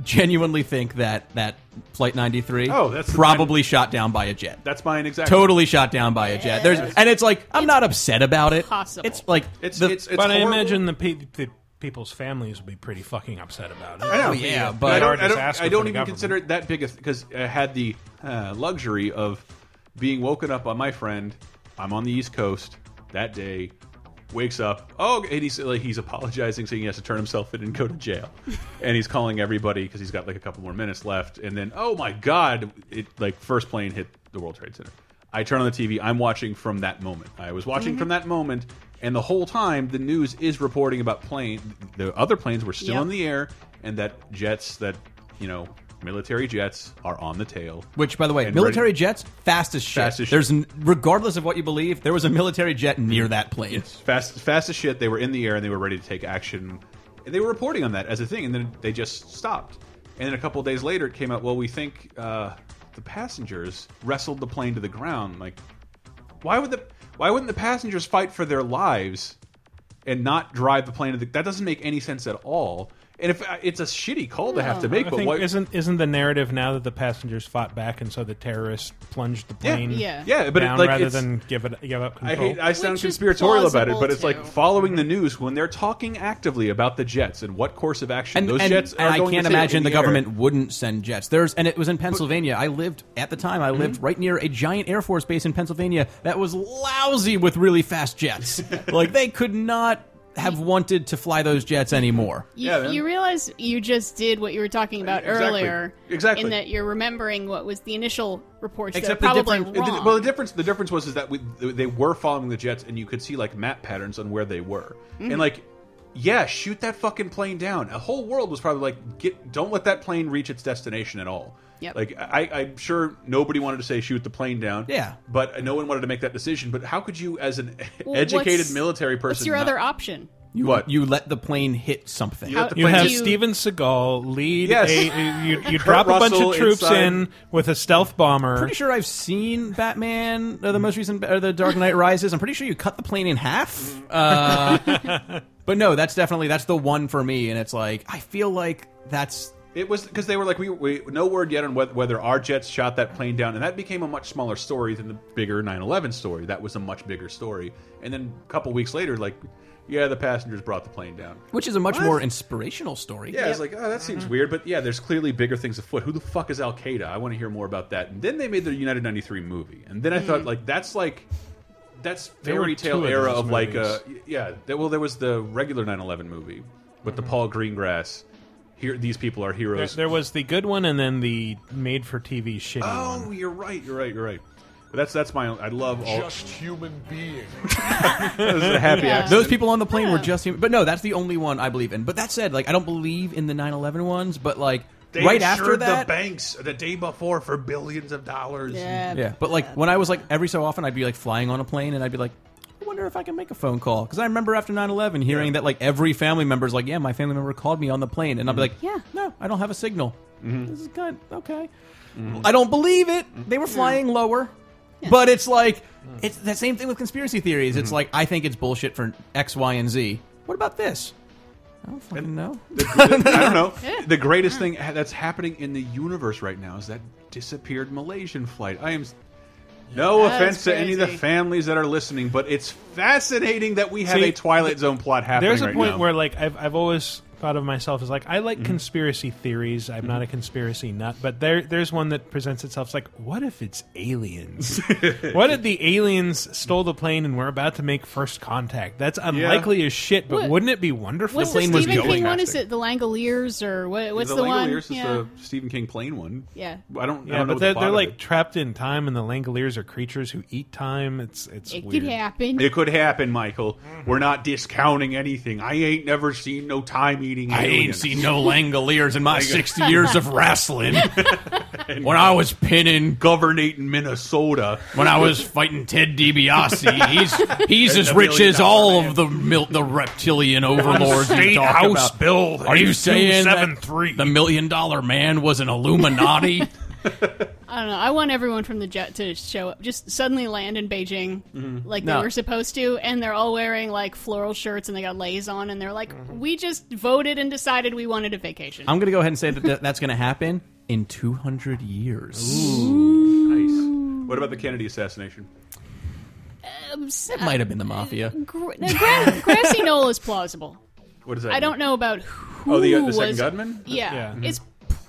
Speaker 6: genuinely think that that Flight 93
Speaker 3: Oh, that's the
Speaker 6: probably shot down by a jet.
Speaker 3: That's mine exactly.
Speaker 6: totally shot down by a jet. There's and it's like I'm not upset about it.
Speaker 4: possible.
Speaker 6: It's like
Speaker 3: It's
Speaker 6: the-
Speaker 3: it's, it's
Speaker 5: but I
Speaker 3: horrible.
Speaker 5: imagine the, pe- the people's families will be pretty fucking upset about it.
Speaker 3: I know,
Speaker 6: Oh, yeah,
Speaker 3: yeah,
Speaker 6: but-
Speaker 3: but I don't,
Speaker 5: They are
Speaker 3: I don't,
Speaker 5: disaster
Speaker 3: I don't
Speaker 5: for the
Speaker 3: even
Speaker 5: government.
Speaker 3: consider it that big because I had the uh, luxury of being woken up by my friend. I'm on the East Coast that day. Wakes up. Oh, and he's like he's apologizing, saying he has to turn himself in and go to jail, and he's calling everybody because he's got like a couple more minutes left. And then, oh my God, it like first plane hit the World Trade Center. I turn on the TV. I'm watching from that moment. I was watching from
Speaker 6: Mm-hmm.
Speaker 3: that moment, and the whole time the news is reporting about plane. The other planes were still
Speaker 4: Yep.
Speaker 3: in the air, and that jets that you know military jets are on the tail.
Speaker 6: Which, by the way,
Speaker 3: And
Speaker 6: military
Speaker 3: ready-
Speaker 6: jets fast as shit.
Speaker 3: Fast as shit.
Speaker 6: There's n- regardless of what you believe, there was a military jet near that plane.
Speaker 3: fast fast as shit. They were in the air and they were ready to take action. And they were reporting on that as a thing, and then they just stopped. And then a couple days later, it came out. Well, we think uh, the passengers wrestled the plane to the ground. Like, why would the why wouldn't the passengers fight for their lives and not drive the plane to the? That doesn't make any sense at all. And if uh, it's a shitty call to have to make,
Speaker 5: Hmm. I
Speaker 3: but
Speaker 5: think
Speaker 3: why,
Speaker 5: isn't isn't the narrative now that the passengers fought back and so the terrorists plunged the
Speaker 3: Yeah.
Speaker 5: plane
Speaker 4: Yeah.
Speaker 3: Yeah, but it-
Speaker 5: down
Speaker 3: like,
Speaker 5: rather
Speaker 3: it's-
Speaker 5: than give it give up
Speaker 3: I
Speaker 5: control?
Speaker 3: hate. I sound
Speaker 4: Which is
Speaker 3: conspiratorial about it,
Speaker 4: plausible,
Speaker 3: but it's like
Speaker 4: too.
Speaker 3: following the news when they're talking actively about the jets and what course of action
Speaker 6: and,
Speaker 3: those
Speaker 6: and-
Speaker 3: jets are
Speaker 6: and I
Speaker 3: going
Speaker 6: can't
Speaker 3: to take
Speaker 6: imagine
Speaker 3: in
Speaker 6: the,
Speaker 3: air.
Speaker 6: government wouldn't send jets. There's and it was in Pennsylvania. I lived at the time.
Speaker 3: Mm-hmm.
Speaker 6: I lived right near a giant Air Force base in Pennsylvania that was lousy with really fast jets. like they could not have wanted to fly those jets anymore.
Speaker 4: You,
Speaker 3: Yeah, man.
Speaker 4: you realize you just did what you were talking about
Speaker 3: Exactly.
Speaker 4: earlier.
Speaker 3: Exactly.
Speaker 4: In that you're remembering what was the initial reports
Speaker 3: Except
Speaker 4: that
Speaker 3: the
Speaker 4: are probably
Speaker 3: difference.
Speaker 4: wrong.
Speaker 3: Well, the difference. The difference was is that we, they were following the jets, and you could see like map patterns on where they were,
Speaker 4: Mm-hmm.
Speaker 3: and like. Yeah, shoot that fucking plane down. A whole world was probably like, get, don't let that plane reach its destination at all.
Speaker 4: Yep.
Speaker 3: Like, I, I'm sure nobody wanted to say shoot the plane down.
Speaker 6: Yeah.
Speaker 3: But no one wanted to make that decision. But how could you, as an
Speaker 4: Well,
Speaker 3: educated
Speaker 4: what's-
Speaker 3: military person,
Speaker 4: What's your
Speaker 3: not-
Speaker 4: other option?
Speaker 6: You
Speaker 3: What?
Speaker 6: you let the plane hit something.
Speaker 3: let the
Speaker 5: You
Speaker 3: plane
Speaker 5: have
Speaker 3: just-
Speaker 5: Steven Seagal lead
Speaker 3: Yes.
Speaker 5: a. You, you drop a bunch
Speaker 3: Russell
Speaker 5: of troops
Speaker 3: inside.
Speaker 5: in with a stealth bomber.
Speaker 6: pretty sure I've seen Batman, uh, the most recent, or the Dark Knight Rises. I'm pretty sure you cut the plane in half. Uh,
Speaker 3: Mm-hmm.
Speaker 6: but no, that's definitely that's the one for me, and it's like I feel like that's
Speaker 3: It was because they were like, we, we no word yet on whether, whether our jets shot that plane down, and that became a much smaller story than the bigger 9/11 story. That was a much bigger story. And then a couple weeks later, like, yeah, the passengers brought the plane down.
Speaker 6: which is a much
Speaker 3: What?
Speaker 6: more inspirational story.
Speaker 3: Yeah, it's like, oh, that seems weird, but yeah, there's clearly bigger things afoot. Who the fuck is Al Qaeda? I want to hear more about that. And then they made the United '93 movie, and then I thought, like, that's like, that's
Speaker 5: There were
Speaker 3: fairy tale
Speaker 5: two of
Speaker 3: era
Speaker 5: those
Speaker 3: of like, uh,
Speaker 5: movies.
Speaker 3: yeah. There, well, there was the regular 9/11 movie with the Paul Greengrass. Here, these people are
Speaker 5: Mm-hmm. There,
Speaker 3: heroes.
Speaker 5: there was the good one and then the made for TV shitty one.
Speaker 3: oh, you're right. You're right. You're right. But that's that's my. I love all.
Speaker 8: Just human beings.
Speaker 3: that was a happy
Speaker 4: Yeah.
Speaker 3: accident.
Speaker 6: Those people on the plane were
Speaker 4: Yeah.
Speaker 6: just human. But no, that's the only one I believe in. But that said, like I don't believe in the 9/11 ones, but like
Speaker 3: They
Speaker 6: right
Speaker 3: insured
Speaker 6: after that
Speaker 3: the banks the day before for billions of dollars.
Speaker 4: Yeah.
Speaker 6: Yeah, but like when I was like every so often I'd be like flying on a plane and I'd be like I wonder if I can make a phone call because I remember after 9/11 hearing that like every family member's like yeah my family member called me on the plane and I'd be like
Speaker 4: Yeah.
Speaker 6: no I don't have a signal this is good okay I don't believe it they were flying lower but it's like it's that same thing with conspiracy theories it's like I think it's bullshit for X Y and Z what about this I don't fucking know
Speaker 3: I don't know. The greatest thing ha- that's happening in the universe right now is that disappeared Malaysian flight. I am. s- No
Speaker 4: That is
Speaker 3: offense to any of the
Speaker 4: crazy.
Speaker 3: families that are listening, but it's fascinating that we have
Speaker 5: See,
Speaker 3: a Twilight Zone plot happening
Speaker 5: There's a
Speaker 3: right
Speaker 5: point
Speaker 3: now. Mm-hmm.
Speaker 5: where like I've I've always thought of myself as like I like conspiracy theories. I'm not a conspiracy nut, but there there's one that presents itself as like, what if it's aliens? what if the aliens stole the plane and we're about to make first contact? That's unlikely as shit, but
Speaker 4: What-
Speaker 5: wouldn't it be wonderful?
Speaker 4: What's the,
Speaker 6: was
Speaker 4: Stephen
Speaker 6: going
Speaker 4: King one? Is
Speaker 3: faster.
Speaker 4: it the Langoliers or what? What's the,
Speaker 3: the
Speaker 4: one?
Speaker 3: Langoliers
Speaker 4: yeah.
Speaker 3: is the Stephen King plane one.
Speaker 4: Yeah.
Speaker 3: I don't. I
Speaker 5: yeah,
Speaker 3: don't know
Speaker 5: but
Speaker 3: the
Speaker 5: they're,
Speaker 3: plot
Speaker 5: they're
Speaker 3: of
Speaker 5: like
Speaker 3: it.
Speaker 5: trapped in time, and the Langoliers are creatures who eat time. It's it's
Speaker 4: it
Speaker 5: weird.
Speaker 4: could happen.
Speaker 3: It could happen, Michael. We're not discounting anything. I ain't never seen no time eating.
Speaker 6: I ain't seen no Langoliers in my 60 years of wrestling. when I was pinning,
Speaker 3: governating Minnesota.
Speaker 6: when I was fighting Ted DiBiase, he's he's as
Speaker 3: the
Speaker 6: rich
Speaker 3: million
Speaker 6: as
Speaker 3: dollar
Speaker 6: all of the mil- the reptilian overlords you talk about.
Speaker 5: Bill.
Speaker 6: Are you saying that
Speaker 5: 273?
Speaker 6: the million dollar man was an Illuminati?
Speaker 4: I don't know. I want everyone from the jet to show up, just suddenly land in Beijing like
Speaker 6: No.
Speaker 4: they were supposed to, and they're all wearing like floral shirts and they got lays on, and they're like, "We just voted and decided we wanted a vacation."
Speaker 6: I'm going to go ahead and say that th- that's going to happen in 200 years.
Speaker 3: Nice. What about the Kennedy assassination?
Speaker 6: That might have been the mafia.
Speaker 4: Gra- now, Gra- grassy knoll is plausible.
Speaker 3: What is that?
Speaker 4: I don't know about who.
Speaker 3: Oh, the, uh, the second
Speaker 4: was-
Speaker 3: gunman.
Speaker 4: Yeah,
Speaker 5: Yeah.
Speaker 4: it's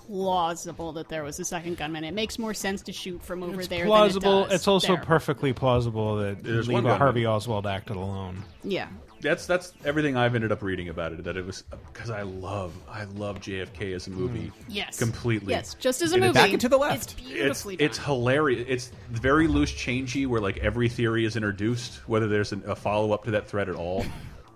Speaker 4: plausible that there was a second gunman. It makes more sense to shoot from over there.
Speaker 5: plausible.
Speaker 4: Than it does
Speaker 5: it's also
Speaker 4: there.
Speaker 5: perfectly plausible that
Speaker 3: There's one
Speaker 5: Leva
Speaker 3: gunman.
Speaker 5: Harvey Oswald acted alone.
Speaker 4: Yeah.
Speaker 3: that's that's everything I've ended up reading about it. That it was because I love I love JFK
Speaker 6: Mm.
Speaker 3: as a movie.
Speaker 4: Yes.
Speaker 3: completely.
Speaker 4: Yes, just as a
Speaker 3: And
Speaker 4: movie.
Speaker 3: it's-
Speaker 6: Back into the left.
Speaker 4: It's
Speaker 3: It's
Speaker 4: beautifully
Speaker 3: it's
Speaker 4: done.
Speaker 3: hilarious. It's very loose changey, where like every theory is introduced, whether there's an, a follow up to that thread at all.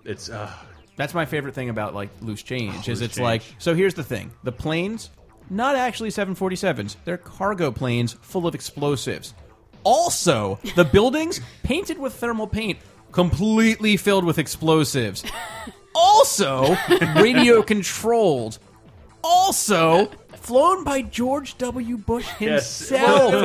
Speaker 3: It's uh,
Speaker 6: That's my favorite thing about like loose change is
Speaker 3: loose
Speaker 6: it's like
Speaker 3: change.
Speaker 6: so here's the thing. The planes not actually 747s. They're cargo planes full of explosives. Also, the buildings painted with thermal paint completely filled with explosives. Also, radio controlled. Also, flown by George W. Bush
Speaker 3: Yes. Oh,
Speaker 6: himself.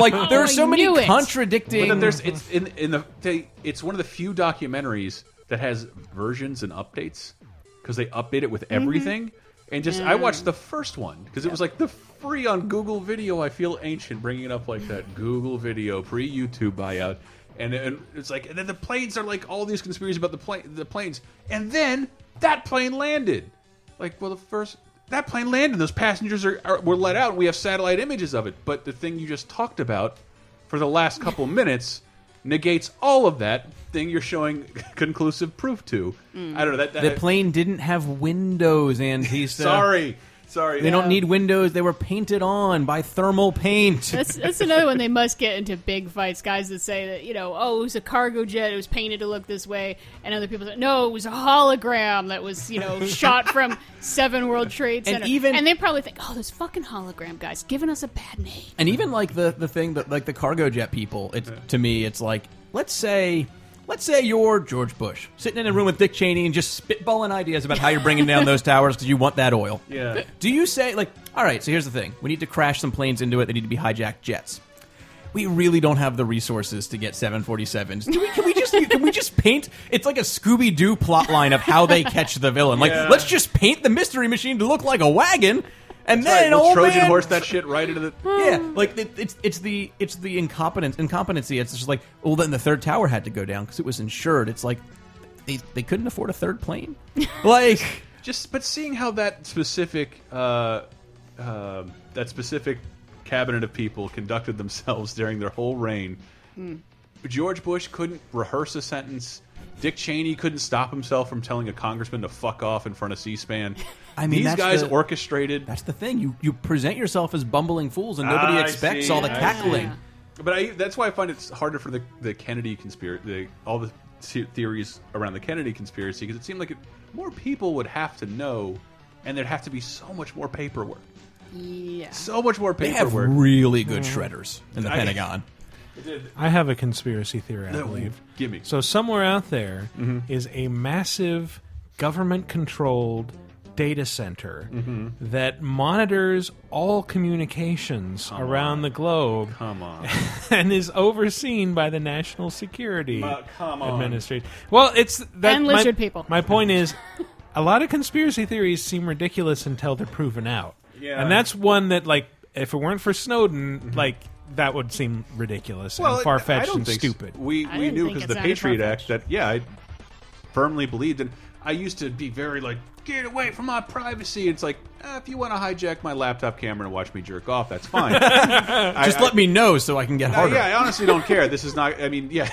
Speaker 6: Like there
Speaker 4: I
Speaker 6: are so many
Speaker 4: knew it.
Speaker 6: contradicting
Speaker 3: but then there's it's in in the they, it's one of the few documentaries that has versions and updates because they update it with everything. And just I watched the first one because it was like the free on Google Video. I feel ancient bringing it up like that Google Video pre YouTube buyout. And, and it's like and then the planes are like all these conspiracies about the plane the planes and then that plane landed like well the first that plane landed those passengers are, are were let out and we have satellite images of it but the thing you just talked about for the last couple minutes negates all of that thing you're showing conclusive proof to. I don't know that. that
Speaker 6: the plane didn't have windows, Antista.
Speaker 3: sorry, sorry.
Speaker 6: uh, They don't need windows. They were painted on by thermal paint.
Speaker 4: That's, that's another one they must get into big fights. Guys that say that, you know, oh, it was a cargo jet, it was painted to look this way. And other people say, no, it was a hologram that was, you know, shot from Seven World Trade
Speaker 6: And
Speaker 4: Center.
Speaker 6: even-
Speaker 4: and they probably think, oh, those fucking hologram guys giving us a bad name.
Speaker 6: And even like the the thing that like the cargo jet people, it's to me, it's like let's say Let's say you're George Bush, sitting in a room with Dick Cheney and just spitballing ideas about how you're bringing down those towers because you want that oil.
Speaker 3: Yeah.
Speaker 6: Do you say, like, all right, so here's the thing. We need to crash some planes into it. They need to be hijacked jets. We really don't have the resources to get 747s. Do we, can we just can we just paint? It's like a Scooby Doo plot line of how they catch the villain. Like,
Speaker 3: Yeah.
Speaker 6: let's just paint the mystery machine to look like a wagon, and
Speaker 3: All right,
Speaker 6: then
Speaker 3: we'll
Speaker 6: old
Speaker 3: Trojan
Speaker 6: man-
Speaker 3: horse that shit right into the.
Speaker 6: yeah, like it, it's it's the it's the incompetence incompetency. It's just like well, then the third tower had to go down because it was insured. It's like they they couldn't afford a third plane. like
Speaker 3: Just but seeing how that specific uh, uh, that specific cabinet of people conducted themselves during their whole reign,
Speaker 6: Hmm.
Speaker 3: George Bush couldn't rehearse a sentence. Dick Cheney couldn't stop himself from telling a congressman to fuck off in front of C-SPAN.
Speaker 6: I mean,
Speaker 3: these
Speaker 6: that's
Speaker 3: guys
Speaker 6: the-
Speaker 3: orchestrated.
Speaker 6: that's the thing. You you present yourself as bumbling fools, and nobody
Speaker 3: Ah, I
Speaker 6: expects
Speaker 3: see,
Speaker 6: all the
Speaker 3: I
Speaker 6: cackling.
Speaker 4: Yeah.
Speaker 3: But I, that's why I find it's harder for the, the Kennedy conspiracy, the, all the se- theories around the Kennedy conspiracy, because it seemed like it, more people would have to know, and there'd have to be so much more paperwork.
Speaker 4: Yeah.
Speaker 3: So much more
Speaker 6: They have
Speaker 3: paperwork.
Speaker 6: really good shredders in the
Speaker 3: I-
Speaker 6: Pentagon.
Speaker 5: I have a conspiracy theory, I
Speaker 3: No,
Speaker 5: believe.
Speaker 3: give me. Mm-hmm.
Speaker 5: So somewhere out there is a massive government-controlled data center
Speaker 3: Mm-hmm.
Speaker 5: that monitors all communications around the globe
Speaker 3: Come on.
Speaker 5: and is overseen by the National Security
Speaker 3: Uh, come on.
Speaker 5: Administration. Well, it's that,
Speaker 4: And
Speaker 5: my-
Speaker 4: lizard people.
Speaker 5: My point is, a lot of conspiracy theories seem ridiculous until they're proven out.
Speaker 3: Yeah.
Speaker 5: and that's one that, like, if it weren't for Snowden,
Speaker 6: Mm-hmm.
Speaker 5: like that would seem ridiculous and
Speaker 3: it-
Speaker 5: far
Speaker 3: I
Speaker 5: fetched
Speaker 3: don't
Speaker 5: and
Speaker 3: think
Speaker 5: stupid.
Speaker 3: so. We
Speaker 4: I
Speaker 3: we
Speaker 4: don't
Speaker 3: knew
Speaker 4: think
Speaker 3: because
Speaker 4: it's
Speaker 3: the
Speaker 4: that
Speaker 3: Patriot Act
Speaker 4: far-fetched.
Speaker 3: that yeah, I firmly believed in. I used to be very like, get away from my privacy. It's like eh, if you want to hijack my laptop camera and watch me jerk off, that's fine. I-
Speaker 6: Just
Speaker 3: I-
Speaker 6: let me know so I can get
Speaker 3: Uh,
Speaker 6: harder.
Speaker 3: yeah, I honestly don't care. This is not. I mean, yeah.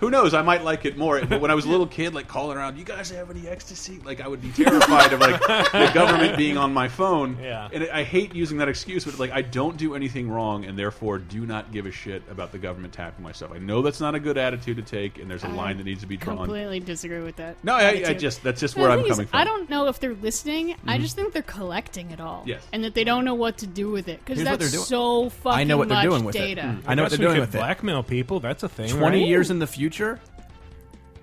Speaker 3: Who knows? I might like it more. But when I was a little kid, like calling around, "You guys have any ecstasy?" Like I would be terrified of like the government being on my phone.
Speaker 5: Yeah.
Speaker 3: And I hate using that excuse, but like I don't do anything wrong, and therefore do not give a shit about the government tapping my stuff. I know that's not a good attitude to take, and there's a line that needs to be drawn.
Speaker 4: Completely disagree with that.
Speaker 3: No, I, I
Speaker 4: attitude.
Speaker 3: just that's just
Speaker 4: No,
Speaker 3: where
Speaker 4: the
Speaker 3: I'm
Speaker 4: thing is,
Speaker 3: coming from. Mm-hmm.
Speaker 4: I don't know if they're listening. I just think they're collecting it all.
Speaker 3: Yes.
Speaker 4: And that they don't know what to do with it because
Speaker 6: Here's what
Speaker 4: that's
Speaker 6: they're doing.
Speaker 4: so fucking
Speaker 6: I know what they're
Speaker 4: much
Speaker 6: doing with
Speaker 4: data.
Speaker 6: it. Mm. I know what
Speaker 5: Guess
Speaker 6: they're
Speaker 5: we
Speaker 6: doing
Speaker 5: could
Speaker 6: with it.
Speaker 5: blackmail people. That's a thing.
Speaker 6: 20
Speaker 5: right?
Speaker 6: years in the future,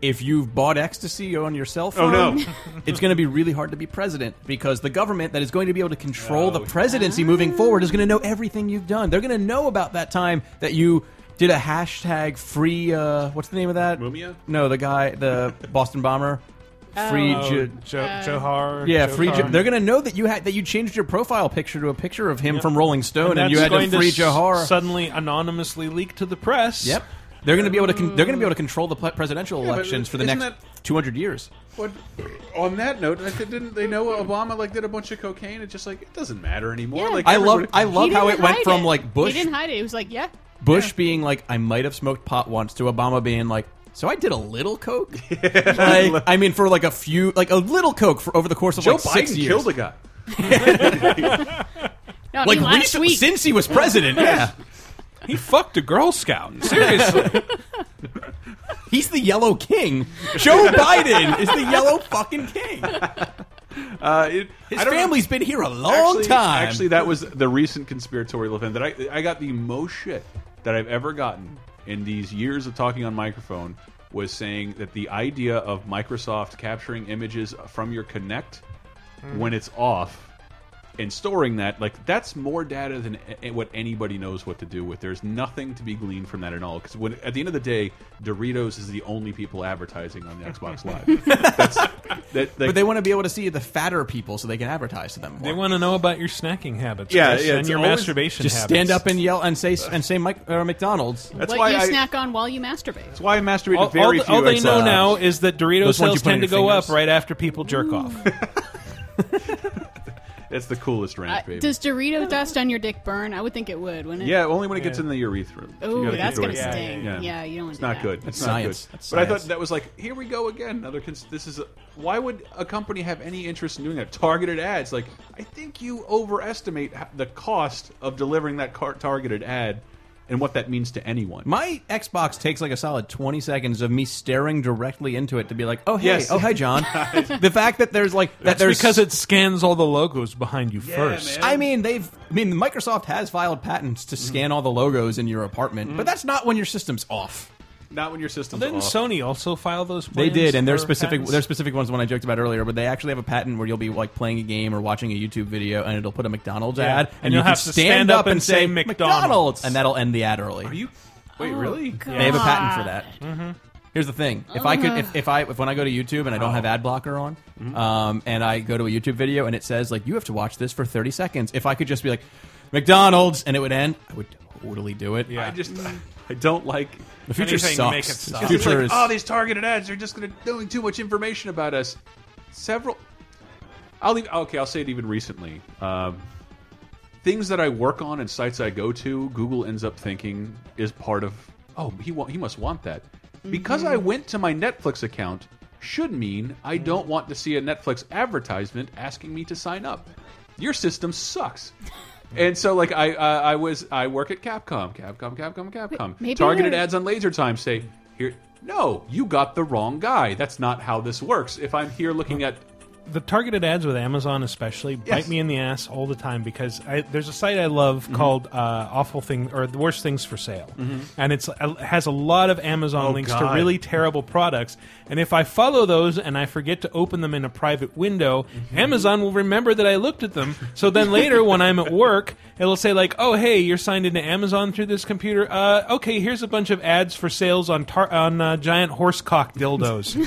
Speaker 6: if you've bought ecstasy E on your cell
Speaker 3: Oh,
Speaker 6: phone,
Speaker 3: no.
Speaker 6: it's going to be really hard to be president because the government that is going to be able to control the presidency moving forward is going to know everything you've done. They're going to know about that time that you did a hashtag free. Uh, what's the name of that?
Speaker 3: Mumia?
Speaker 6: No, the guy, the Boston bomber. Free.
Speaker 5: Oh,
Speaker 6: Ju-
Speaker 5: Jo-
Speaker 4: Uh,
Speaker 5: Johar.
Speaker 6: yeah, free.
Speaker 5: Johar.
Speaker 6: Ju- they're gonna know that you had that you changed your profile picture to a picture of him from Rolling Stone, and,
Speaker 5: that's
Speaker 6: you had
Speaker 5: going
Speaker 6: to free
Speaker 5: s-
Speaker 6: Johar.
Speaker 5: suddenly anonymously leak to the press.
Speaker 6: Yep. They're going to be able to con- they're going to be able to control the pre- presidential
Speaker 3: but
Speaker 6: elections for the
Speaker 3: isn't
Speaker 6: next
Speaker 3: that-
Speaker 6: 200 years.
Speaker 3: But on that note, like, didn't they know Obama like did a bunch of cocaine? It's just like it doesn't matter anymore.
Speaker 4: Yeah.
Speaker 3: Like
Speaker 6: I love
Speaker 3: everybody-
Speaker 6: I
Speaker 4: He
Speaker 6: love how
Speaker 4: didn't
Speaker 6: it went
Speaker 4: hide
Speaker 6: from
Speaker 4: it.
Speaker 6: like Bush
Speaker 4: He didn't hide it. He was like, yeah.
Speaker 6: Bush being like I might have smoked pot once to Obama being like so I did a little coke. like, I mean for like a few like a little coke for over the course of
Speaker 3: Joe
Speaker 6: like 6
Speaker 3: Biden
Speaker 6: years.
Speaker 3: killed a guy.
Speaker 4: No, I
Speaker 6: like
Speaker 4: mean, last
Speaker 6: recently,
Speaker 4: week.
Speaker 6: since he was president. yeah.
Speaker 5: He fucked a Girl Scout. Seriously.
Speaker 6: He's the yellow king. Joe Biden is the yellow fucking king.
Speaker 3: Uh, it,
Speaker 6: His
Speaker 3: I don't know.
Speaker 6: family's been here a long
Speaker 3: actually,
Speaker 6: time.
Speaker 3: Actually, that was the recent conspiratorial event that I I got the most shit that I've ever gotten in these years of talking on microphone was saying that the idea of Microsoft capturing images from your Connect
Speaker 5: Hmm.
Speaker 3: when it's off and storing that like that's more data than a- what anybody knows what to do with there's nothing to be gleaned from that at all because when at the end of the day doritos is the only people advertising on the xbox live that's that,
Speaker 6: but they want to be able to see the fatter people so they can advertise to them more.
Speaker 5: they want to know about your snacking habits.
Speaker 3: Yeah,
Speaker 5: Chris,
Speaker 3: yeah,
Speaker 5: and
Speaker 3: it's
Speaker 5: your
Speaker 3: always-
Speaker 5: masturbation
Speaker 6: just
Speaker 5: habits.
Speaker 6: stand up and yell and say and say Mike, uh, McDonald's.
Speaker 3: that's
Speaker 4: what
Speaker 3: why
Speaker 4: you
Speaker 3: I,
Speaker 4: snack on while you masturbate.
Speaker 3: That's why I masturbate
Speaker 5: All,
Speaker 3: to very
Speaker 5: all-
Speaker 3: few.
Speaker 5: all they
Speaker 3: Xbox.
Speaker 5: know now is that Dorito
Speaker 6: Those ones you
Speaker 5: sales
Speaker 6: put on
Speaker 5: tend to
Speaker 6: your
Speaker 5: go up
Speaker 6: fingers.
Speaker 5: right after people jerk off.
Speaker 3: That's the coolest
Speaker 4: Uh,
Speaker 3: rant, baby.
Speaker 4: does Dorito dust on your dick burn? I would think it would, wouldn't it?
Speaker 3: yeah, only when it gets in the urethra. You
Speaker 4: Oh,
Speaker 3: gotta
Speaker 4: that's
Speaker 3: keep
Speaker 4: gonna
Speaker 3: doing it.
Speaker 4: sting.
Speaker 3: Yeah,
Speaker 4: Yeah, you don't want
Speaker 3: It's
Speaker 4: to do
Speaker 3: not
Speaker 4: that.
Speaker 3: good. It's not
Speaker 6: science.
Speaker 3: good.
Speaker 6: That's
Speaker 3: but I thought
Speaker 6: science.
Speaker 3: that was like, here we go again. Another. Cons- this is. Why would a company have any interest in doing that? Targeted ads. Like, I think you overestimate ho- the cost of delivering that car- targeted ad, and what that means to anyone.
Speaker 6: My Xbox takes like a solid 20 seconds of me staring directly into it to be like, "Oh hey,
Speaker 3: Yes.
Speaker 6: oh hi John." the fact that there's like that
Speaker 5: That's
Speaker 6: there's
Speaker 5: because it scans all the logos behind you first.
Speaker 3: man.
Speaker 6: I mean, they've I mean,
Speaker 5: Mm-hmm.
Speaker 6: Microsoft has filed patents to scan all the logos in your apartment, but that's not when your system's off.
Speaker 3: Not when your system's
Speaker 5: Didn't
Speaker 3: off.
Speaker 5: Sony also file those?
Speaker 6: They
Speaker 5: Plans
Speaker 6: did, and their
Speaker 5: for
Speaker 6: specific
Speaker 5: patents?
Speaker 6: their specific ones. The one I joked about earlier, where they actually have a patent where you'll be like playing a game or watching a YouTube video, and it'll put a McDonald's
Speaker 5: Yeah.
Speaker 6: ad,
Speaker 5: And
Speaker 6: and
Speaker 5: you'll
Speaker 6: you can
Speaker 5: have to stand up and say McDonald's.
Speaker 6: and that'll end the ad early.
Speaker 3: Are you? Wait,
Speaker 4: Oh,
Speaker 3: really?
Speaker 6: They have a patent for that.
Speaker 5: Mm-hmm.
Speaker 6: Here's the thing: if I could, if, if I, if when I go to YouTube and I
Speaker 5: Oh.
Speaker 6: don't have ad blocker on,
Speaker 5: Mm-hmm.
Speaker 6: um, and I go to a YouTube video and it says like you have to watch this for 30 seconds, if I could just be like McDonald's and it would end, I would totally do it.
Speaker 5: Yeah.
Speaker 3: I just I don't like.
Speaker 6: The future
Speaker 5: Anything to
Speaker 6: sucks.
Speaker 5: make it stop.
Speaker 6: Mm.
Speaker 5: It's
Speaker 6: The
Speaker 3: It's
Speaker 6: future
Speaker 3: like,
Speaker 6: is
Speaker 3: oh, these targeted ads are just going to knowing too much information about us. Several. I'll even okay. I'll say it even recently. Um, things that I work on and sites I go to, Google ends up thinking is part of. Oh, he wa- he must want that because I went to my Netflix account should mean I don't want to see a Netflix advertisement asking me to sign up. Your system sucks. And so, like, I uh, I was I work at Capcom, Capcom, Capcom, Capcom.
Speaker 4: maybe
Speaker 3: Targeted
Speaker 4: they're-
Speaker 3: ads on laser time say here. No, you got the wrong guy. That's not how this works. If I'm here looking at
Speaker 5: the targeted ads with Amazon especially bite me in the ass all the time because I, there's a site I love called uh, Awful Thing or The Worst Things for Sale, and it's it has a lot of Amazon links to
Speaker 3: God.
Speaker 5: really terrible products. And if I follow those and I forget to open them in a private window, Amazon will remember that I looked at them. So then later when I'm at work, it'll say like, "Oh hey, you're signed into Amazon through this computer. Uh, okay, here's a bunch of ads for sales on tar- on uh, giant horse cock dildos."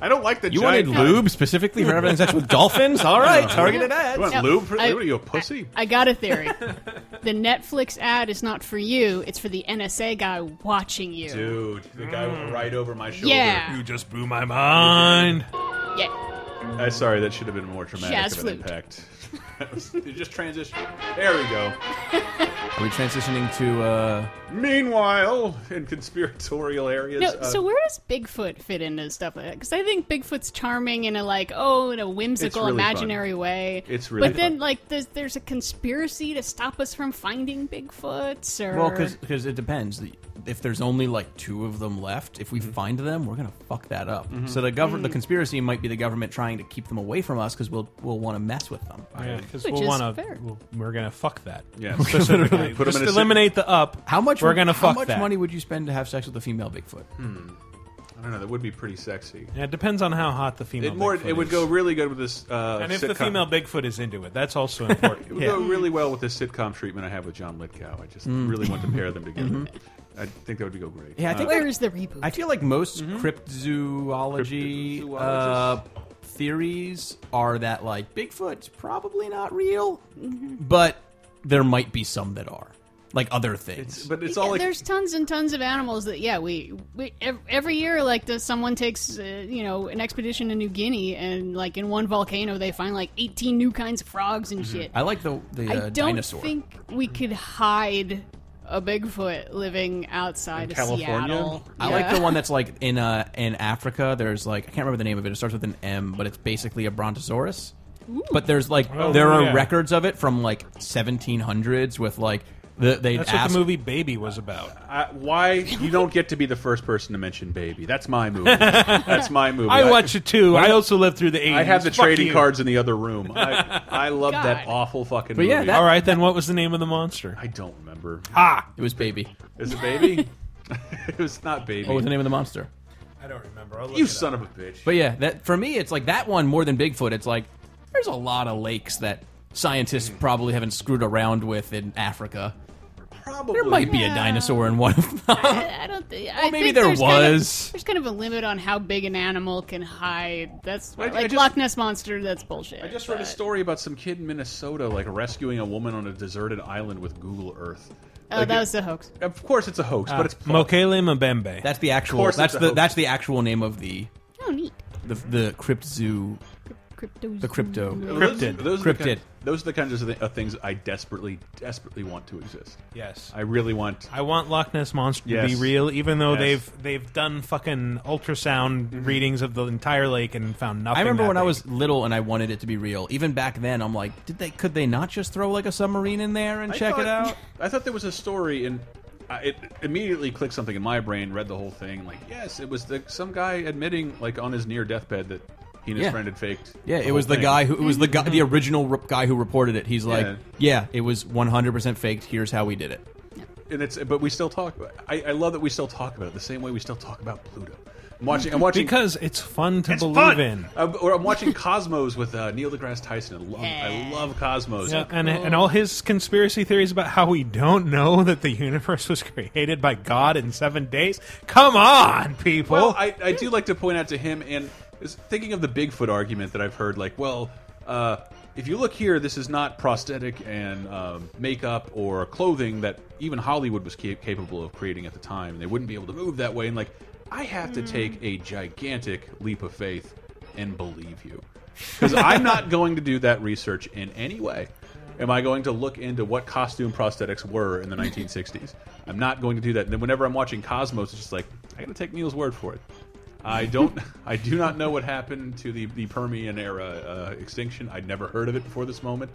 Speaker 3: I don't like the
Speaker 6: you wanted lube specifically for everything sex with dolphins. All right, targeted ads.
Speaker 3: You want
Speaker 4: No,
Speaker 3: lube? For,
Speaker 4: I-
Speaker 3: what are you a pussy?
Speaker 4: I got a theory. the Netflix ad is not for you; it's for the NSA guy watching you.
Speaker 3: Dude, the guy went right over my shoulder.
Speaker 4: Mm. yeah,
Speaker 5: you just blew my mind.
Speaker 4: yeah.
Speaker 3: I sorry, that should have been more traumatic of
Speaker 4: Jazz
Speaker 3: an
Speaker 4: flute.
Speaker 3: impact. That was- it just transition. There we go.
Speaker 6: Are we transitioning to? uh
Speaker 3: Meanwhile, in conspiratorial areas,
Speaker 4: No,
Speaker 3: uh,
Speaker 4: so where does Bigfoot fit into stuff like that? Because I think Bigfoot's charming in a like, oh, in a whimsical,
Speaker 3: really
Speaker 4: imaginary way.
Speaker 3: It's really
Speaker 4: But then,
Speaker 3: fun.
Speaker 4: like, there's there's a conspiracy to stop us from finding Bigfoots, or
Speaker 6: Well, because it depends. The- If there's only like two of them left, if we find them, we're gonna fuck that up. So the government, the conspiracy might be the government trying to keep them away from us because we'll we'll want to mess with them.
Speaker 5: Yeah, because
Speaker 4: Which
Speaker 5: we'll
Speaker 4: is
Speaker 5: want to.
Speaker 4: fair.
Speaker 5: We'll, we're gonna fuck that.
Speaker 3: Yeah.
Speaker 5: specifically.
Speaker 3: Put 'em
Speaker 5: Just
Speaker 3: in a si-
Speaker 5: eliminate the up.
Speaker 6: How much?
Speaker 5: We're gonna
Speaker 6: how
Speaker 5: fuck
Speaker 6: much
Speaker 5: that.
Speaker 6: money would you spend to have sex with a female Bigfoot?
Speaker 3: I don't know. That would be pretty sexy.
Speaker 5: Yeah, it depends on how hot the female.
Speaker 3: It more.
Speaker 5: Bigfoot
Speaker 3: It would
Speaker 5: is.
Speaker 3: go really good with this. Uh,
Speaker 5: And if the
Speaker 3: sitcom.
Speaker 5: female Bigfoot is into it, that's also
Speaker 3: It
Speaker 5: important.
Speaker 3: would go really well with this sitcom treatment I have with John Lithgow. I just
Speaker 5: Mm.
Speaker 3: really want to pair them together.
Speaker 5: Mm-hmm.
Speaker 3: I think that would go great. Uh,
Speaker 6: Yeah, I think
Speaker 4: where is the reboot?
Speaker 6: I feel like most cryptozoology uh,
Speaker 3: Cryptozoologists.
Speaker 6: theories are that like Bigfoot's probably not real,
Speaker 4: Mm-hmm.
Speaker 6: but there might be some that are, like other things.
Speaker 3: It's- but it's
Speaker 4: Yeah,
Speaker 3: all like
Speaker 4: there's tons and tons of animals that yeah we, we ev- every year like the, someone takes uh, you know an expedition to New Guinea and like in one volcano they find like 18 new kinds of frogs and shit.
Speaker 6: I like the the
Speaker 4: I
Speaker 6: uh,
Speaker 4: don't
Speaker 6: dinosaur.
Speaker 4: think we could hide a Bigfoot living outside
Speaker 3: In
Speaker 4: of
Speaker 3: California?
Speaker 4: Seattle.
Speaker 6: I like the one that's like in uh, in Africa. There's like I can't remember the name of it. It starts with an M, but it's basically a brontosaurus. But there's like
Speaker 5: Oh,
Speaker 6: there are
Speaker 5: yeah.
Speaker 6: records of it from like 1700s with like the, they'd
Speaker 5: That's what
Speaker 6: ask
Speaker 5: the movie Baby was about.
Speaker 3: I, why you don't get to be the first person to mention baby. That's my movie. That's my movie.
Speaker 5: I watch it too. I also lived through the 80s.
Speaker 3: I have the
Speaker 5: Fuck
Speaker 3: trading
Speaker 5: you.
Speaker 3: cards in the other room. I, I love that
Speaker 4: God.
Speaker 3: awful fucking
Speaker 6: But
Speaker 3: movie.
Speaker 6: yeah, that-
Speaker 5: All right, then what was the name of the monster?
Speaker 3: I don't remember.
Speaker 5: Ah,
Speaker 6: It was baby.
Speaker 3: Is it baby? it was not baby.
Speaker 6: What was the name of the monster?
Speaker 5: I don't remember. I'll look
Speaker 3: you
Speaker 5: it
Speaker 3: son
Speaker 5: up.
Speaker 3: of a bitch.
Speaker 6: Oh, But yeah, that for me, it's like that one more than Bigfoot. It's like there's a lot of lakes that scientists probably haven't screwed around with in Africa.
Speaker 3: probably
Speaker 6: There might be a
Speaker 4: Yeah.
Speaker 6: dinosaur in one of them.
Speaker 4: I, I don't think. I
Speaker 6: maybe
Speaker 4: think
Speaker 6: there
Speaker 4: there's kind of-
Speaker 6: was.
Speaker 4: there's kind of a limit on how big an animal can hide. That's
Speaker 3: I- I
Speaker 4: like
Speaker 3: just-
Speaker 4: Loch Ness monster. That's bullshit.
Speaker 3: I just read a story about some kid in Minnesota like rescuing a woman on a deserted island with Google Earth.
Speaker 4: Oh,
Speaker 3: Like,
Speaker 4: that
Speaker 3: it-
Speaker 4: was a hoax.
Speaker 3: Of course, it's a hoax,
Speaker 6: Ah,
Speaker 3: but it's
Speaker 5: Uh, Mokele Mbembe.
Speaker 6: That's the actual.
Speaker 3: course
Speaker 6: That's
Speaker 3: it's a
Speaker 6: the
Speaker 3: hoax.
Speaker 6: that's the actual name of the
Speaker 4: Oh, neat.
Speaker 6: the the crypt zoo
Speaker 4: Crypto.
Speaker 6: the crypto.
Speaker 3: Cryptid. Those, are the
Speaker 6: Cryptid.
Speaker 3: kind- those are the kinds of, thi- of things I desperately, desperately want to exist.
Speaker 5: yes.
Speaker 3: I really want.
Speaker 5: I want Loch Ness monster to
Speaker 3: Yes.
Speaker 5: be real, even though
Speaker 3: Yes. Mm-hmm.
Speaker 5: they've they've done fucking ultrasound readings of the entire lake and found nothing.
Speaker 6: I remember
Speaker 5: that
Speaker 6: when I
Speaker 5: big.
Speaker 6: was little and I wanted it to be real. Even back then, I'm like, did they? Could they not just throw like a submarine in there and
Speaker 3: I
Speaker 6: check
Speaker 3: thought-
Speaker 6: it out?
Speaker 3: I thought there was a story, and I, it immediately clicked something in my brain. Read the whole thing, like yes, it was the, some guy admitting, like on his near deathbed, that he and his
Speaker 6: Yeah.
Speaker 3: friend had faked.
Speaker 6: Yeah,
Speaker 3: the
Speaker 6: it was
Speaker 3: whole
Speaker 6: the
Speaker 3: thing.
Speaker 6: guy who it was the guy the original rep- guy who reported it. He's like,
Speaker 3: Yeah.
Speaker 6: yeah, it was 100 percent faked. Here's how we did it.
Speaker 3: and it's but we still talk. I, I love that we still talk about it the same way we still talk about Pluto. I'm watching. I'm watching
Speaker 5: because it's fun to
Speaker 3: It's
Speaker 5: believe
Speaker 3: fun!
Speaker 5: in.
Speaker 3: I'm, or I'm watching Cosmos with uh, Neil deGrasse Tyson. I love, I love Cosmos.
Speaker 5: Yeah, and, and all his conspiracy theories about how we don't know that the universe was created by God in seven days. Come on, people.
Speaker 3: Well, I, I do like to point out to him, and is thinking of the Bigfoot argument that I've heard, like, well, uh, if you look here, this is not prosthetic and um, makeup or clothing that even Hollywood was cap capable of creating at the time, and they wouldn't be able to move that way. And like, I have to take a gigantic leap of faith and believe you, because I'm not going to do that research in any way. Am I going to look into what costume prosthetics were in the 1960s? I'm not going to do that. And then whenever I'm watching Cosmos, it's just like I got to take Neil's word for it. I don't. I do not know what happened to the the Permian era uh, extinction. I'd never heard of it before this moment.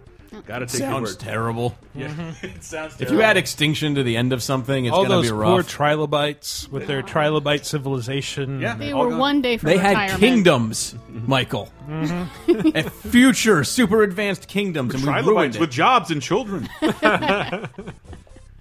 Speaker 3: Got to take your
Speaker 6: Sounds
Speaker 3: word.
Speaker 6: terrible. Mm-hmm.
Speaker 3: Yeah. it sounds
Speaker 6: If
Speaker 3: terrible.
Speaker 6: you add extinction to the end of something, it's
Speaker 5: all
Speaker 6: gonna
Speaker 5: those
Speaker 6: be
Speaker 5: poor
Speaker 6: rough.
Speaker 5: trilobites with their trilobite civilization.
Speaker 3: yeah,
Speaker 4: They
Speaker 3: all
Speaker 4: were
Speaker 3: gone.
Speaker 4: one day from
Speaker 6: they
Speaker 4: retirement.
Speaker 6: had kingdoms, Michael. A future super advanced kingdoms, and we ruined
Speaker 3: trilobites
Speaker 6: it.
Speaker 3: with jobs and children.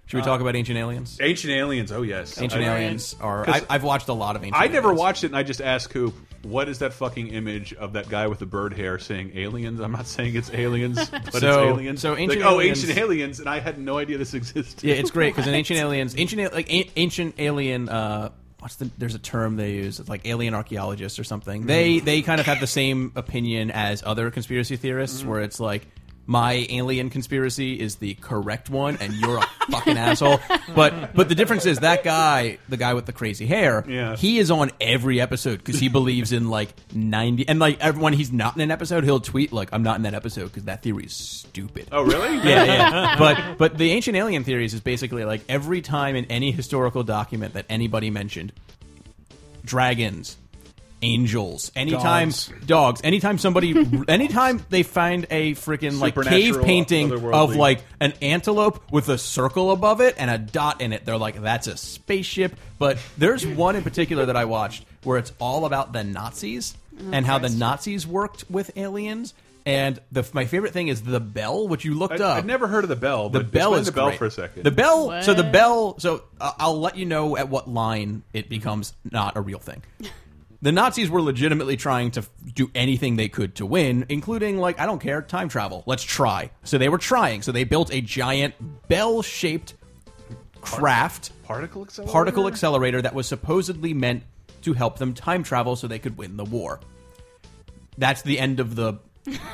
Speaker 6: Should we talk about ancient aliens?
Speaker 3: Ancient aliens. Oh yes,
Speaker 6: Ancient
Speaker 3: I,
Speaker 6: aliens are.
Speaker 3: 'Cause
Speaker 6: I, I've watched a lot of ancient.
Speaker 3: I never
Speaker 6: Aliens.
Speaker 3: watched it, and I just asked Coop, "What is that fucking image of that guy with the bird hair saying aliens?" I'm not saying it's aliens, but
Speaker 6: So-
Speaker 3: it's aliens.
Speaker 6: so
Speaker 3: Like,
Speaker 6: Ancient
Speaker 3: oh,
Speaker 6: Aliens-
Speaker 3: ancient aliens, and I had no idea this existed.
Speaker 6: Yeah, it's great because in ancient aliens, ancient al- like an- ancient alien. Uh, what's the? There's a term they use. It's like alien archaeologists or something. They they kind of have the same opinion as other conspiracy theorists, where it's like. My alien conspiracy is the correct one, and you're a fucking asshole. But but the difference is that guy, the guy with the crazy hair,
Speaker 3: Yeah.
Speaker 6: he is on every episode because he believes in like ninety. And like every- when he's not in an episode, he'll tweet like, "I'm not in that episode because that theory is stupid."
Speaker 3: Oh, really?
Speaker 6: yeah, yeah. But but the ancient alien theories is basically like every time in any historical document that anybody mentioned dragons, angels, anytime dogs,
Speaker 5: Dogs.
Speaker 6: anytime somebody anytime they find a freaking like cave
Speaker 3: Supernatural,
Speaker 6: painting of
Speaker 3: otherworldly.
Speaker 6: like an antelope with a circle above it and a dot in it, they're like that's a spaceship. But there's one in particular that I watched where it's all about the Nazis and how the Nazis worked with aliens. And the, my favorite thing is the bell, which you looked
Speaker 3: I,
Speaker 6: up.
Speaker 3: I'd never heard of the bell.
Speaker 6: The
Speaker 3: But
Speaker 6: bell
Speaker 3: explain
Speaker 6: is
Speaker 3: the bell
Speaker 6: great.
Speaker 3: for a second.
Speaker 6: The bell. So the bell. So uh, I'll let you know at what line it becomes not a real thing. The Nazis were legitimately trying to f- do anything they could to win, including like I don't care, time travel. Let's try. So they were trying. So they built a giant bell-shaped craft
Speaker 3: particle accelerator.
Speaker 6: particle accelerator that was supposedly meant to help them time travel so they could win the war. That's the end of the.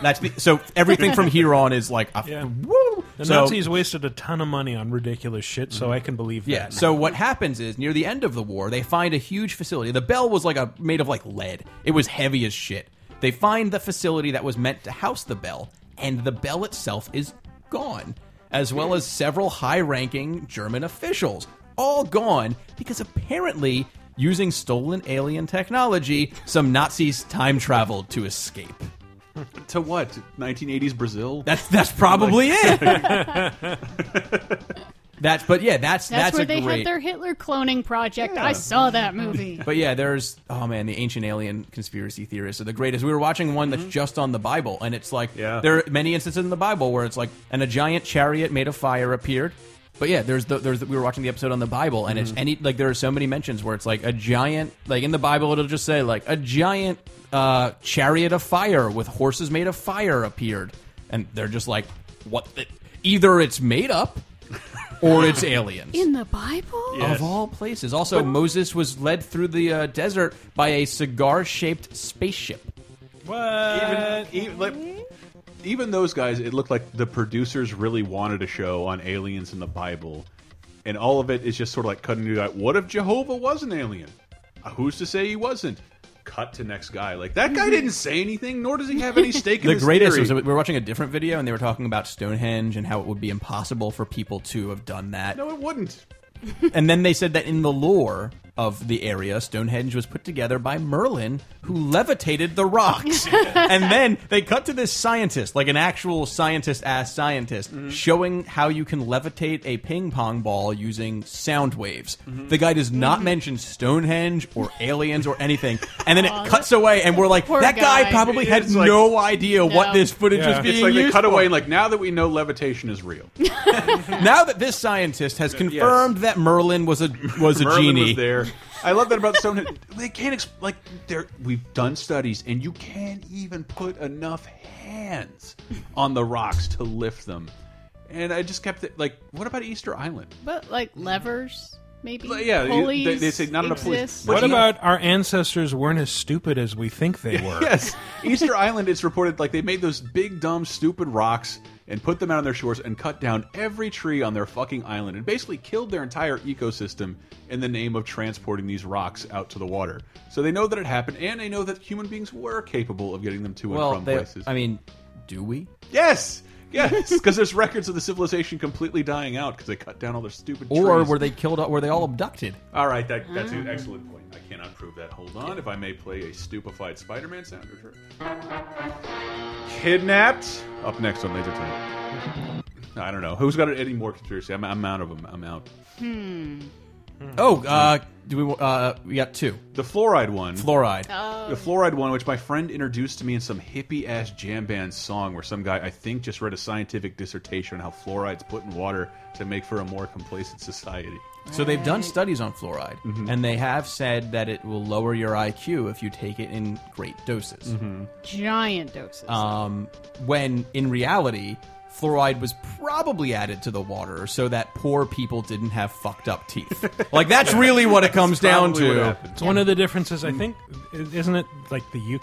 Speaker 6: That's the so everything from here on is like a,
Speaker 5: Yeah.
Speaker 6: woo.
Speaker 5: The
Speaker 6: So- Mm-hmm.
Speaker 5: Nazis wasted a ton of money on ridiculous shit, so I can believe that.
Speaker 6: Yeah. So what happens is near the end of the war, they find a huge facility. The bell was like a made of like lead. It was heavy as shit. They find the facility that was meant to house the bell, and the bell itself is gone, as well as several high-ranking German officials, all gone because apparently using stolen alien technology, some Nazis time traveled to escape.
Speaker 3: to what? 1980s Brazil.
Speaker 6: That's that's probably it. that's but yeah,
Speaker 4: That's,
Speaker 6: that's that's,
Speaker 4: where
Speaker 6: a
Speaker 4: they
Speaker 6: great...
Speaker 4: had their Hitler cloning project. I saw that movie.
Speaker 6: But yeah, there's oh man, the ancient alien conspiracy theorists are the greatest. We were watching one that's just on the Bible, and it's like
Speaker 3: Yeah.
Speaker 6: there are many instances in the Bible where it's like and a giant chariot made of fire appeared. But yeah, there's the, there's the, we were watching the episode on the Bible, and it's any like there are so many mentions where it's like a giant like in the Bible it'll just say like a giant uh, chariot of fire with horses made of fire appeared, and they're just like what the, either it's made up or it's aliens
Speaker 4: In the Bible?
Speaker 6: of all places. Also, Moses was led through the uh, desert by a cigar-shaped spaceship.
Speaker 3: even, even, e, like, even those guys, it looked like the producers really wanted a show on aliens in the Bible, and all of it is just sort of like cutting you out. What if Jehovah was an alien? Uh, Who's to say he wasn't? Cut to next guy. Like that guy didn't say anything, nor does he have any stake in
Speaker 6: The
Speaker 3: this
Speaker 6: greatest
Speaker 3: theory.
Speaker 6: was we were watching a different video and they were talking about Stonehenge and how it would be impossible for people to have done that.
Speaker 3: no, it wouldn't.
Speaker 6: And then they said that in the lore of the area, Stonehenge was put together by Merlin, who levitated the rocks. and then they cut to this scientist, like an actual scientist ass scientist,
Speaker 3: Mm-hmm.
Speaker 6: showing how you can levitate a ping pong ball using sound waves.
Speaker 3: Mm-hmm.
Speaker 6: The guy does not mention Stonehenge or aliens or anything. And then it cuts away, and we're like,
Speaker 4: Poor
Speaker 6: that guy,
Speaker 4: guy."
Speaker 6: probably had
Speaker 3: It's like-
Speaker 6: no idea what
Speaker 4: No.
Speaker 6: this footage
Speaker 5: Yeah.
Speaker 6: was being
Speaker 3: It's like they
Speaker 6: used
Speaker 3: cut
Speaker 6: for.
Speaker 3: away and like now that we know levitation is real.
Speaker 6: Now that this scientist has confirmed that Merlin was a was a
Speaker 3: Merlin
Speaker 6: genie,
Speaker 3: was there. I love that about Stonehenge. They can't exp like there. We've done studies, and you can't even put enough hands on the rocks to lift them. And I just kept it like, what about Easter Island?
Speaker 4: But like levers, maybe.
Speaker 3: Like, yeah, they-
Speaker 4: pulleys
Speaker 3: they- they say not enough pulleys.
Speaker 4: exist.
Speaker 3: But
Speaker 5: What
Speaker 3: he-
Speaker 5: about our ancestors weren't as stupid as we think they were?
Speaker 3: Yes, Easter Island. It's reported like they made those big, dumb, stupid rocks and put them out on their shores and cut down every tree on their fucking island and basically killed their entire ecosystem in the name of transporting these rocks out to the water. So they know that it happened, and they know that human beings were capable of getting them to and
Speaker 6: well,
Speaker 3: from
Speaker 6: they-
Speaker 3: places.
Speaker 6: I mean, do we?
Speaker 3: yes, yes, because there's records of the civilization completely dying out because they cut down all their stupid
Speaker 6: Or
Speaker 3: trees.
Speaker 6: were they killed? Were they all abducted?
Speaker 3: All right, that, that's an excellent point. I cannot prove that. Hold on, if I may play a stupefied Spider-Man sound. or- Kidnapped. Up next on Laser Time. I don't know who's got any more conspiracy. I'm, I'm out of them. I'm out.
Speaker 6: Oh, uh, do we? Uh, we got two
Speaker 3: The fluoride one.
Speaker 6: fluoride.
Speaker 3: the fluoride one, which my friend introduced to me in some hippie ass jam band song, where some guy I think just read a scientific dissertation on how fluoride's put in water to make for a more complacent society.
Speaker 6: so they've done studies on fluoride, and they have said that it will lower your IQ if you take it in great doses.
Speaker 4: Giant doses.
Speaker 6: um, when in reality, fluoride was probably added to the water so that poor people didn't have fucked up teeth. like that's really what it comes down
Speaker 3: Probably what
Speaker 6: to.
Speaker 3: happened.
Speaker 5: It's one of the differences.
Speaker 6: Mm.
Speaker 5: I think, isn't it like the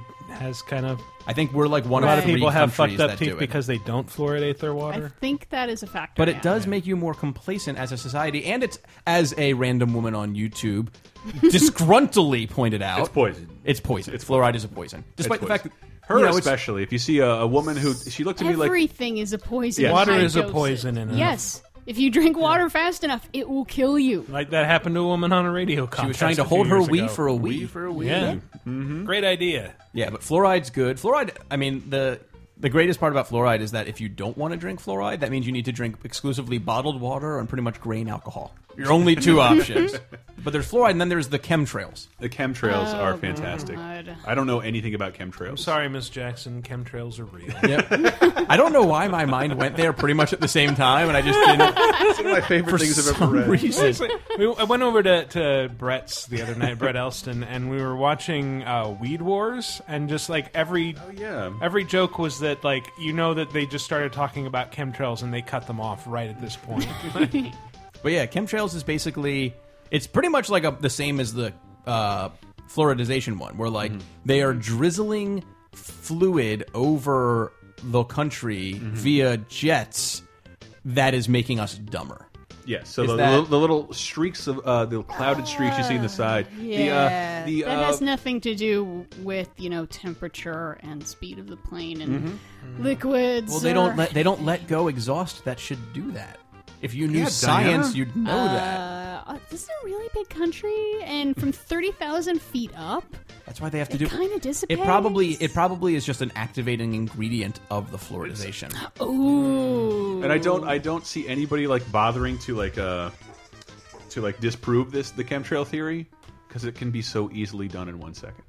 Speaker 5: UK has kind of
Speaker 6: I think we're like one
Speaker 5: a lot
Speaker 6: of
Speaker 5: of
Speaker 6: three
Speaker 5: people have
Speaker 6: countries
Speaker 5: fucked up
Speaker 6: that do
Speaker 5: teeth
Speaker 6: it.
Speaker 5: because they don't fluoridate their
Speaker 4: I
Speaker 5: water.
Speaker 4: think that is a factor.
Speaker 6: But
Speaker 4: now.
Speaker 6: it does make you more complacent as a society, and it's as a random woman on YouTube disgruntledly pointed out.
Speaker 3: It's poison.
Speaker 6: It's poison. fluoride is a poison, despite
Speaker 3: It's
Speaker 6: the fact
Speaker 3: poison.
Speaker 6: that
Speaker 3: her
Speaker 6: you know, it's-
Speaker 3: especially, if you see a, a woman who she looked at me like
Speaker 4: Everything is a poison.
Speaker 3: Yes.
Speaker 4: in
Speaker 5: Water
Speaker 4: high
Speaker 5: is a
Speaker 4: doses.
Speaker 5: poison in it.
Speaker 4: Yes. If you drink water fast enough, it will kill you.
Speaker 5: like that happened to a woman on a radio contest.
Speaker 6: she was trying to
Speaker 5: a few
Speaker 6: hold her
Speaker 5: years
Speaker 6: wee
Speaker 5: ago.
Speaker 6: for a wee for a wee.
Speaker 5: Yeah, great idea.
Speaker 6: Yeah, but fluoride's good. Fluoride. I mean the the greatest part about fluoride is that if you don't want to drink fluoride, that means you need to drink exclusively bottled water and pretty much grain alcohol. Your only two options. But there's fluoride, and then there's the chemtrails.
Speaker 3: The chemtrails are fantastic.
Speaker 4: Oh, God.
Speaker 3: I don't know anything about chemtrails.
Speaker 5: Sorry, Miss Jackson, chemtrails are real.
Speaker 6: I don't know why my mind went there pretty much at the same time, and I just didn't.
Speaker 3: It's one of my favorite
Speaker 6: For
Speaker 3: things I've
Speaker 6: some
Speaker 3: ever read.
Speaker 6: reason,
Speaker 5: we, I went over to, to Brett's the other night, Brett Elston, and we were watching uh, Weed Wars, and just like every
Speaker 3: Oh, yeah.
Speaker 5: every joke was that like you know that they just started talking about chemtrails and they cut them off right at this point.
Speaker 6: But yeah, chemtrails is basically it's pretty much like a, the same as the uh, fluoridization one, where
Speaker 3: Mm-hmm.
Speaker 6: like they are drizzling fluid over the country
Speaker 3: Mm-hmm.
Speaker 6: via jets that is making us dumber.
Speaker 3: Yeah, so
Speaker 6: Is
Speaker 3: the,
Speaker 6: that-
Speaker 3: the little streaks of uh, the clouded streaks you see in the side.
Speaker 4: Ah, Yeah,
Speaker 3: The, uh, the,
Speaker 4: that
Speaker 3: uh,
Speaker 4: has nothing to do with you know temperature and speed of the plane and
Speaker 3: Mm-hmm.
Speaker 4: liquids.
Speaker 6: Well, they
Speaker 4: or-
Speaker 6: don't let they don't let go exhaust that should do that. If you knew
Speaker 3: Yeah,
Speaker 6: science,
Speaker 3: Diana.
Speaker 6: you'd know that.
Speaker 4: Uh, this is a really big country, and from thirty thousand feet up,
Speaker 6: That's why they have to
Speaker 4: it
Speaker 6: do.
Speaker 4: kind of
Speaker 6: It
Speaker 4: dissipates.
Speaker 6: probably it probably is just an activating ingredient of the fluoridization.
Speaker 4: Ooh.
Speaker 3: Mm. and I don't I don't see anybody like bothering to like uh to like disprove this the chemtrail theory because it can be so easily done in one second.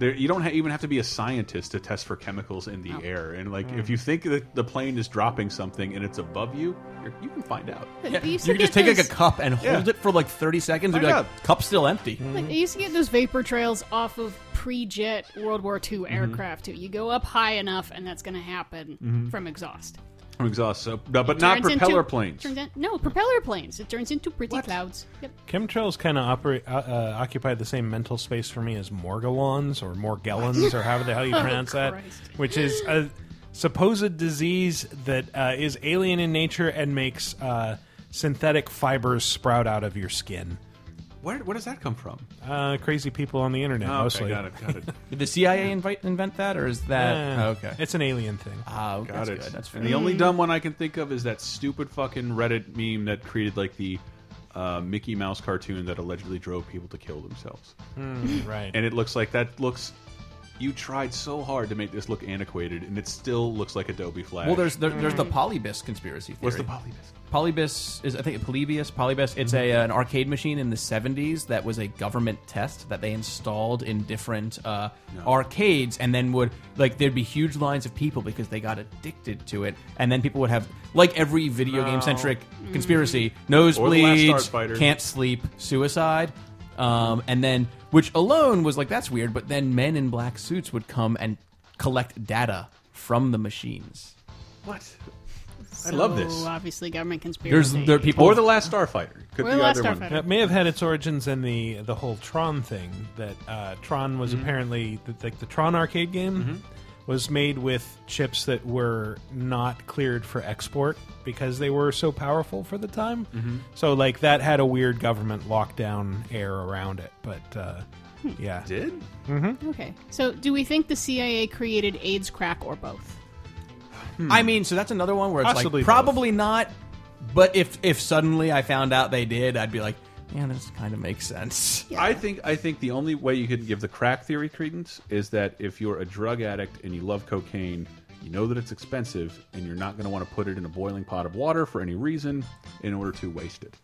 Speaker 3: there, you don't ha even have to be a scientist to test for chemicals in
Speaker 4: Oh.
Speaker 3: the air. And like if you think that the plane is dropping something and it's above you, you're, you can find out.
Speaker 4: But
Speaker 6: Yeah.
Speaker 4: they
Speaker 6: You
Speaker 4: used
Speaker 6: can
Speaker 4: to
Speaker 6: just
Speaker 4: get
Speaker 6: take like a
Speaker 4: those-
Speaker 6: cup and hold
Speaker 3: Yeah.
Speaker 6: it for like 30 seconds and be
Speaker 3: Find Hmm.
Speaker 6: like, cup's still empty.
Speaker 4: Like, they used to get those vapor trails off of pre-jet World War II
Speaker 3: Mm-hmm.
Speaker 4: aircraft too. You go up high enough, and that's going to happen from exhaust.
Speaker 3: From exhaust, so, but but Mm-hmm. not
Speaker 4: Turns into-
Speaker 3: propeller planes.
Speaker 4: turns in- no, propeller planes. It turns into pretty clouds. Yep.
Speaker 5: chemtrails kind of operate uh, uh, occupy the same mental space for me as morgellons or morgellons or however the hell you pronounce that,
Speaker 4: Christ.
Speaker 5: which is a supposed disease that uh, is alien in nature and makes uh, synthetic fibers sprout out of your skin.
Speaker 3: Where, where does that come from?
Speaker 5: Uh, crazy people on the internet
Speaker 3: Oh,
Speaker 5: mostly.
Speaker 3: Okay, got it, got it.
Speaker 6: Did the CIA
Speaker 4: Hmm.
Speaker 6: invite, invent that, or is that
Speaker 5: Yeah.
Speaker 6: oh, okay?
Speaker 5: Eh, It's an alien thing.
Speaker 6: oh,
Speaker 3: Got
Speaker 6: that's
Speaker 3: it.
Speaker 6: good. That's fair.
Speaker 3: and the only dumb one I can think of is that stupid fucking Reddit meme that created like the uh, Mickey Mouse cartoon that allegedly drove people to kill themselves.
Speaker 6: Hmm.
Speaker 5: right.
Speaker 3: And it looks like that looks. You tried so hard to make this look antiquated, and it still looks like Adobe Flash.
Speaker 6: Well, there's there, there's the Polybus conspiracy theory.
Speaker 3: Hmm. what's the polybus?
Speaker 6: Polybus is I think Polybius Polybus. It's a uh, an arcade machine in the 70s that was a government test that they installed in different uh, arcades, and then would like there'd be huge lines of people because they got addicted to it, and then people would have like every video game centric conspiracy
Speaker 3: Art Fighter.
Speaker 6: nosebleeds, can't sleep, suicide, um, and then which alone was like that's weird, but then men in black suits would come and collect data from the machines.
Speaker 3: What? I love this.
Speaker 4: So, Obviously, government
Speaker 6: There's
Speaker 4: conspiracy.
Speaker 6: there are people
Speaker 3: Or the Last Starfighter? Could
Speaker 4: Or
Speaker 3: be
Speaker 4: The Last
Speaker 3: either one.
Speaker 4: Starfighter.
Speaker 5: That may have had its origins in the the whole Tron thing. That uh, Tron
Speaker 3: Mm-hmm.
Speaker 5: was apparently the, like the Tron arcade game was made with chips that were not cleared for export because they were so powerful for the time.
Speaker 3: Mm-hmm.
Speaker 5: So like that had a weird government lockdown air around it. But uh, yeah,
Speaker 3: Hmm. Did?
Speaker 4: Okay. So, do we think the CIA created AIDS, crack, or both?
Speaker 3: Hmm.
Speaker 6: I mean, so that's another one where it's
Speaker 5: Possibly
Speaker 6: like probably not. But if if suddenly I found out they did, I'd be like, yeah, this kind of makes sense.
Speaker 3: I think I think the only way you could give the crack theory credence is that if you're a drug addict and you love cocaine, you know that it's expensive and you're not going to want to put it in a boiling pot of water for any reason in order to waste it.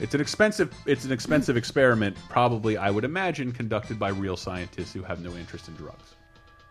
Speaker 3: It's an expensive it's an expensive experiment probably I would imagine conducted by real scientists who have no interest in drugs.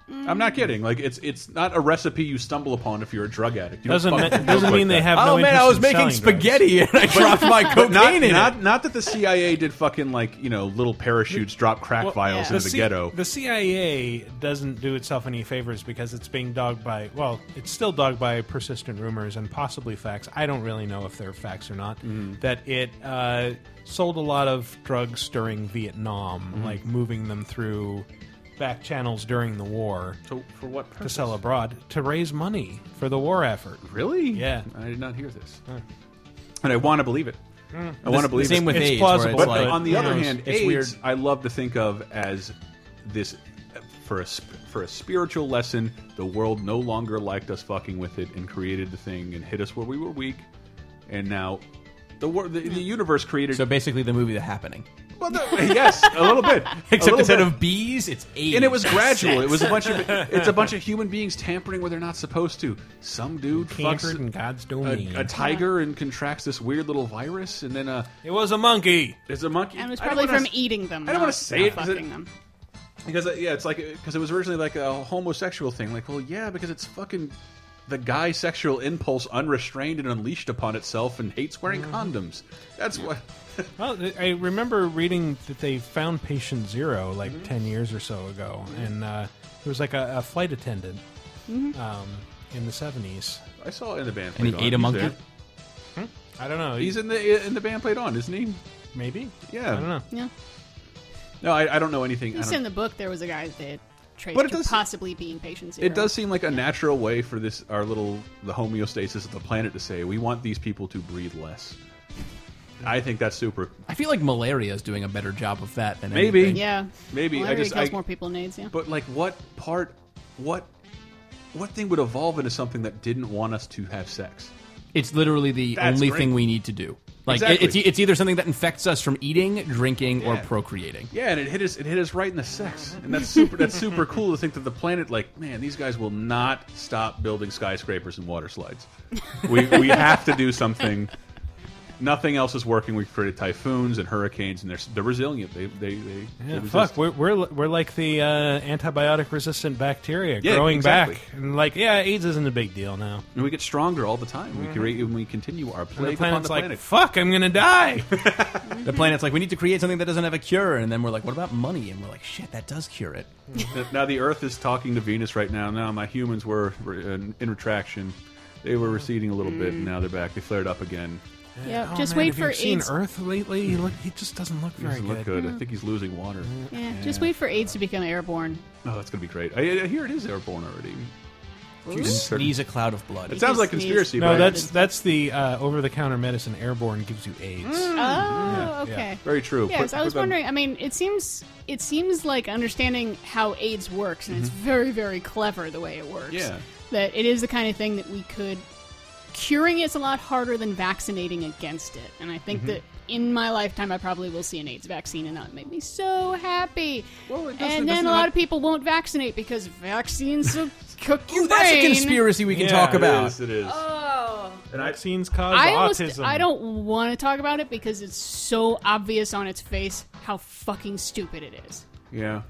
Speaker 3: I'm not kidding. Like it's it's not a recipe you stumble upon if you're a drug addict. You don't
Speaker 5: doesn't
Speaker 3: fuck
Speaker 5: me-
Speaker 3: with drugs
Speaker 5: doesn't
Speaker 3: like
Speaker 5: mean
Speaker 3: that.
Speaker 5: they have.
Speaker 6: oh
Speaker 5: no
Speaker 6: man,
Speaker 5: interest
Speaker 6: I was
Speaker 5: in
Speaker 6: making
Speaker 5: selling drugs.
Speaker 6: spaghetti and I dropped my cocaine
Speaker 3: not,
Speaker 6: in
Speaker 3: not,
Speaker 6: it.
Speaker 3: not that the CIA did fucking like you know little parachutes drop crack vials
Speaker 4: yeah.
Speaker 3: into the,
Speaker 5: C-
Speaker 3: ghetto.
Speaker 5: The CIA doesn't do itself any favors because it's being dogged by, well, it's still dogged by persistent rumors and possibly facts. I don't really know if they're facts or not.
Speaker 3: Mm-hmm.
Speaker 5: That it uh, sold a lot of drugs during Vietnam,
Speaker 3: Mm-hmm.
Speaker 5: like moving them through back channels during the war
Speaker 3: So for what
Speaker 5: to
Speaker 3: purpose?
Speaker 5: sell abroad to raise money for the war effort.
Speaker 3: Really?
Speaker 5: Yeah.
Speaker 3: I did not hear this. And I want to believe it. I want to believe
Speaker 6: Same
Speaker 3: it.
Speaker 6: with
Speaker 5: It's
Speaker 6: AIDS,
Speaker 5: plausible,
Speaker 6: Where
Speaker 3: but
Speaker 6: it's like,
Speaker 3: on the
Speaker 6: who
Speaker 3: other
Speaker 6: knows?
Speaker 3: hand,
Speaker 6: it's
Speaker 3: AIDS,
Speaker 6: weird.
Speaker 3: I love to think of as this for a sp- for a spiritual lesson. The world no longer liked us fucking with it and created the thing and hit us where we were weak, and now. The, wor the, the universe created.
Speaker 6: So basically, the movie The Happening,
Speaker 3: well, the- yes, a little bit. A
Speaker 6: except
Speaker 3: little
Speaker 6: instead
Speaker 3: bit.
Speaker 6: of bees, it's AIDS,
Speaker 3: And it was gradual. It was a bunch of it's a bunch of human beings tampering where they're not supposed to. Some dude fucks
Speaker 5: Cantered in God's domain.
Speaker 3: a, a tiger and contracts this weird little virus, and then uh,
Speaker 5: it was a monkey.
Speaker 3: there's a monkey.
Speaker 4: And it was
Speaker 3: I don't
Speaker 4: probably
Speaker 3: wanna
Speaker 4: from
Speaker 3: s-
Speaker 4: eating them.
Speaker 3: I don't
Speaker 4: not-
Speaker 3: wanna say it
Speaker 4: not
Speaker 3: 'cause it-
Speaker 4: fucking them.
Speaker 3: because uh, yeah, it's like because it was originally like a homosexual thing. Like, well, yeah, because it's fucking the guy sexual impulse unrestrained and unleashed upon itself, and hates wearing
Speaker 6: Mm.
Speaker 3: condoms. That's what.
Speaker 5: Well, th- I remember reading that they found patient zero like
Speaker 3: Mm-hmm.
Speaker 5: ten years or so ago, and uh, it was like a, a flight attendant
Speaker 3: Mm-hmm.
Speaker 5: um, in the seventies.
Speaker 3: I saw in the band.
Speaker 6: and he
Speaker 3: Played On.
Speaker 6: ate a
Speaker 3: He's
Speaker 6: monkey.
Speaker 3: there.
Speaker 5: I don't know.
Speaker 3: He's in the in the band played on, isn't he?
Speaker 5: maybe.
Speaker 3: Yeah.
Speaker 5: I don't know.
Speaker 4: Yeah.
Speaker 3: No, I, I don't know anything. I
Speaker 4: Just
Speaker 3: don't-
Speaker 4: in the book, there was a guy that traced
Speaker 3: But it
Speaker 4: to
Speaker 3: does-
Speaker 4: possibly being patient zero.
Speaker 3: It does seem like a natural way for this our little the homeostasis of the planet to say we want these people to breathe less. I think that's super.
Speaker 6: I feel like malaria is doing a better job of that than
Speaker 3: Maybe.
Speaker 6: anything.
Speaker 4: Yeah.
Speaker 3: Maybe, I
Speaker 4: Malaria
Speaker 3: just-
Speaker 4: kills
Speaker 3: I-
Speaker 4: more people than AIDS. Yeah.
Speaker 3: But like, what part? What? What thing would evolve into something that didn't want us to have sex?
Speaker 6: It's literally the
Speaker 3: That's
Speaker 6: only
Speaker 3: great.
Speaker 6: thing we need to do. Like
Speaker 3: Exactly.
Speaker 6: it's it's either something that infects us from eating, drinking, or
Speaker 3: Yeah.
Speaker 6: procreating.
Speaker 3: Yeah, and it hit us. It hit us right in the sex, and that's super. that's super cool to think that the planet, like, man, these guys will not stop building skyscrapers and water slides. We we have to do something. Nothing else is working. We've created typhoons and hurricanes, and they're s- they're resilient. They they they. they
Speaker 5: Yeah,
Speaker 3: resist.
Speaker 5: fuck, we're, we're li- we're like the uh, antibiotic resistant bacteria
Speaker 3: Yeah,
Speaker 5: growing
Speaker 3: exactly.
Speaker 5: back, and like yeah, AIDS isn't a big deal now.
Speaker 3: And we get stronger all the time. We create and we continue our
Speaker 5: And
Speaker 3: plague
Speaker 5: the
Speaker 3: upon
Speaker 5: planet's
Speaker 3: the
Speaker 5: like
Speaker 3: planet.
Speaker 5: fuck, I'm gonna die.
Speaker 6: The planet's like, we need to create something that doesn't have a cure, and then we're like, what about money? And we're like, shit, that does cure it.
Speaker 3: now the Earth is talking to Venus right now. Now my humans were, were in, in retraction. They were receding a little bit, and now they're back. They flared up again.
Speaker 4: Yeah.
Speaker 5: Oh,
Speaker 4: just
Speaker 5: man,
Speaker 4: wait
Speaker 5: have you
Speaker 4: for
Speaker 5: seen
Speaker 4: AIDS.
Speaker 5: Earth lately. He, look, he just doesn't look very
Speaker 3: Doesn't look good. I think he's losing water.
Speaker 4: Yeah. Just wait for AIDS to become airborne.
Speaker 3: Oh, that's gonna be great. I, I hear it is airborne already.
Speaker 6: You sneeze a cloud of blood.
Speaker 3: It sounds like
Speaker 4: Sneeze.
Speaker 3: conspiracy,
Speaker 5: No,
Speaker 3: but
Speaker 5: that's that's the uh, over-the-counter medicine. Airborne gives you AIDS.
Speaker 3: Mm.
Speaker 4: Oh, okay.
Speaker 3: very true.
Speaker 4: Yes,
Speaker 3: Put-
Speaker 4: I was
Speaker 3: put them-
Speaker 4: wondering. I mean, it seems it seems like understanding how AIDS works, and it's very very clever the way it works.
Speaker 3: Mm-hmm. Yeah.
Speaker 4: that it is the kind of thing that we could curing it's a lot harder than vaccinating against it. And I
Speaker 3: Mm-hmm.
Speaker 4: think that in my lifetime, I probably will see an AIDS vaccine, and that would make me so happy.
Speaker 3: Well, it doesn't-
Speaker 4: and
Speaker 3: it
Speaker 4: then
Speaker 3: doesn't
Speaker 4: a lot
Speaker 3: have-
Speaker 4: of people won't vaccinate because vaccines will cook your
Speaker 6: Ooh, that's a
Speaker 4: brain.
Speaker 6: conspiracy we can
Speaker 5: Yeah,
Speaker 6: talk
Speaker 5: it
Speaker 6: about.
Speaker 3: It is. It is. and I,
Speaker 5: Vaccines cause
Speaker 4: I almost,
Speaker 5: autism.
Speaker 4: I don't want to talk about it because it's so obvious on its face how fucking stupid it is.
Speaker 3: yeah.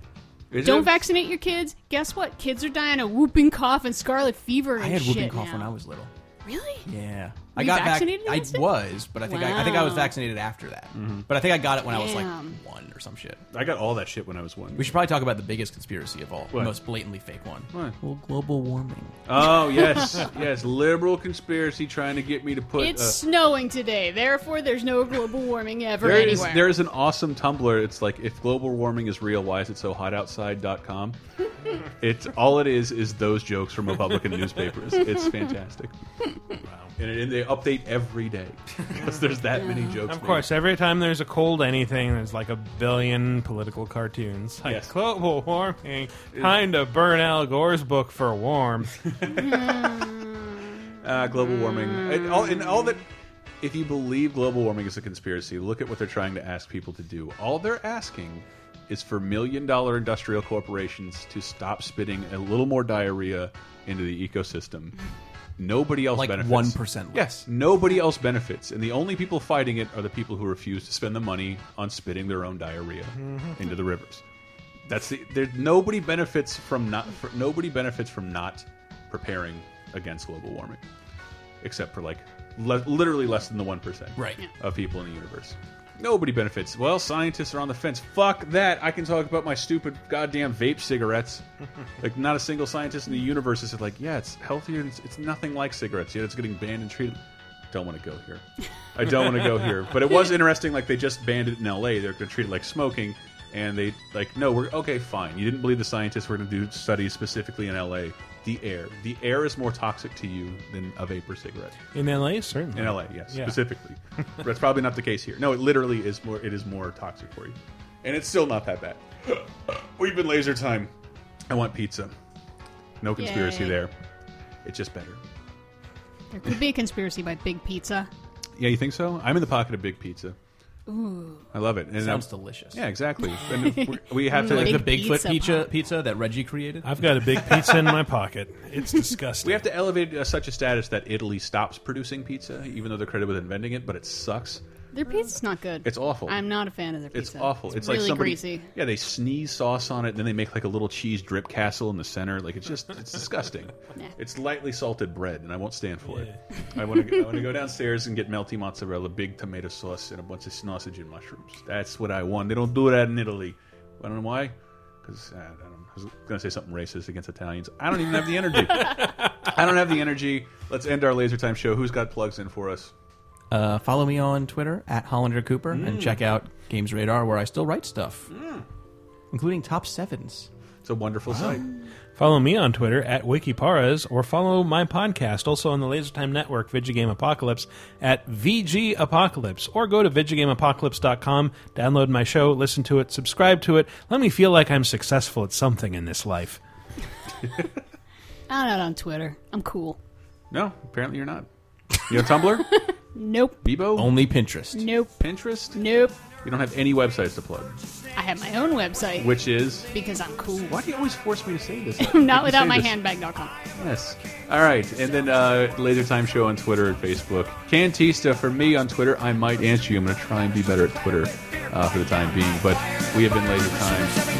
Speaker 3: Is
Speaker 4: Don't
Speaker 3: it?
Speaker 4: vaccinate your kids. Guess what? Kids are dying of whooping cough and scarlet fever and
Speaker 6: I had
Speaker 4: shit
Speaker 6: whooping cough
Speaker 4: now.
Speaker 6: when I was little.
Speaker 4: really.
Speaker 6: Yeah,
Speaker 4: Were
Speaker 6: I
Speaker 4: you
Speaker 6: got
Speaker 4: vaccinated
Speaker 6: Vac-
Speaker 4: against
Speaker 6: I
Speaker 4: it?
Speaker 6: was, but I think I, I think I was
Speaker 4: Wow.
Speaker 6: vaccinated after that.
Speaker 3: Mm-hmm.
Speaker 6: But I think I got it when I was like
Speaker 4: Damn.
Speaker 6: one or some shit.
Speaker 3: I got all that shit when I was one.
Speaker 6: We should probably talk about the biggest conspiracy of all,
Speaker 3: What?
Speaker 6: the most blatantly fake one.
Speaker 3: What?
Speaker 6: Well, global warming.
Speaker 3: Oh yes, yes. Liberal conspiracy trying to get me to put.
Speaker 4: It's
Speaker 3: uh,
Speaker 4: snowing today, therefore there's no global warming ever
Speaker 3: there is
Speaker 4: anywhere.
Speaker 3: there is an awesome Tumblr. It's like if global warming is real, why is it so hot outside.com. It's all it is is those jokes from Republican newspapers. It's fantastic. Wow. And, it- and they update every day because there's that many jokes.
Speaker 5: Of
Speaker 3: made.
Speaker 5: course, every time there's a cold anything, there's like a billion political cartoons. Like
Speaker 3: Yes.
Speaker 5: global warming, time to burn Al Gore's book for warmth.
Speaker 3: Uh, global warming. And all, and all that. If you believe global warming is a conspiracy, look at what they're trying to ask people to do. All they're asking is for million dollar industrial corporations to stop spitting a little more diarrhea into the ecosystem. Nobody else
Speaker 6: Like
Speaker 3: benefits.
Speaker 6: 1% less.
Speaker 3: Yes. Nobody else benefits. And the only people fighting it are the people who refuse to spend the money on spitting their own diarrhea into the rivers. That's the there. Nobody benefits from not. fr nobody benefits from not preparing against global warming, except for like le literally less than the one percent
Speaker 6: Right. Yeah.
Speaker 3: of people in the universe. Nobody benefits. Well, scientists are on the fence. Fuck that. I can talk about my stupid goddamn vape cigarettes. like, not a single scientist in the universe is like, yeah, it's healthier. and It's, it's nothing like cigarettes. Yet it's getting banned and treated. Don't want to go here. I don't want to go here. But it was interesting. Like, they just banned it in L.A. They're going to treat it like smoking. And they, like, no, we're okay, fine. You didn't believe the scientists were going to do studies specifically in L.A. The air. The air is more toxic to you than a vapor cigarette.
Speaker 5: In LA, certainly.
Speaker 3: In LA, yes,
Speaker 5: Yeah.
Speaker 3: specifically. But That's probably not the case here. No, it literally is more. It is more toxic for you, and it's still not that bad. We've been laser time. I want pizza. No conspiracy
Speaker 4: Yay.
Speaker 3: there. It's just better.
Speaker 4: there could be a conspiracy by Big Pizza.
Speaker 3: Yeah, you think so? I'm in the pocket of big pizza. Ooh, I love it. And
Speaker 6: Sounds
Speaker 3: I'm-
Speaker 6: delicious.
Speaker 3: Yeah, exactly. And we- we have to.
Speaker 6: Like
Speaker 4: Big
Speaker 6: the Bigfoot
Speaker 4: pizza
Speaker 6: pizza
Speaker 4: pop.
Speaker 6: pizza, that Reggie created.
Speaker 5: I've got a big pizza in my pocket. It's disgusting.
Speaker 3: We have to elevate uh, such a status that Italy stops producing pizza, even though they're credited with inventing it. But it sucks.
Speaker 4: Their pizza's not good.
Speaker 3: It's awful.
Speaker 4: I'm not a fan of their
Speaker 3: It's
Speaker 4: pizza.
Speaker 3: awful. It's, like
Speaker 4: really
Speaker 3: somebody,
Speaker 4: greasy.
Speaker 3: Yeah, they sneeze sauce on it, and then they make like a little cheese drip castle in the center. Like it's just, it's disgusting.
Speaker 4: Nah.
Speaker 3: It's lightly salted bread, and I won't stand for it. I want to, I want to go downstairs and get melty mozzarella, big tomato sauce, and a bunch of sausage and mushrooms. That's what I want. They don't do that in Italy. I don't know why. Because I, don't know. I was going to say something racist against Italians. I don't even have the energy. I don't have the energy. Let's end our laser time show. Who's got plugs in for us?
Speaker 6: Uh, follow me on Twitter at Hollander Cooper
Speaker 3: Mm.
Speaker 6: and check out Games Radar where I still write stuff, including top sevens.
Speaker 3: It's a wonderful site.
Speaker 5: Follow me on Twitter at Wikiparas or follow my podcast, also on the Lasertime Network, Vigigame Apocalypse, at VG Apocalypse, or go to VigigameApocalypse.com, download my show, listen to it, subscribe to it. Let me feel like I'm successful at something in this life.
Speaker 4: I'm not on Twitter. I'm cool.
Speaker 3: No, apparently you're not. You have Tumblr?
Speaker 4: Nope.
Speaker 3: Bebo?
Speaker 6: Only Pinterest.
Speaker 4: Nope.
Speaker 3: Pinterest?
Speaker 4: Nope.
Speaker 3: You don't have any websites to plug,
Speaker 4: I have my own website
Speaker 3: which is.
Speaker 4: because I'm cool.
Speaker 3: Why do you always force me to say this?
Speaker 4: Not
Speaker 3: You
Speaker 4: without
Speaker 3: say
Speaker 4: my
Speaker 3: this.
Speaker 4: handbag.com.
Speaker 3: Yes. All right, and then uh, Laser Time Show on Twitter and Facebook. Cantista for me on Twitter. uh, I might answer you. I'm going to try and be better at Twitter uh, for the time being, but we have been Laser Time.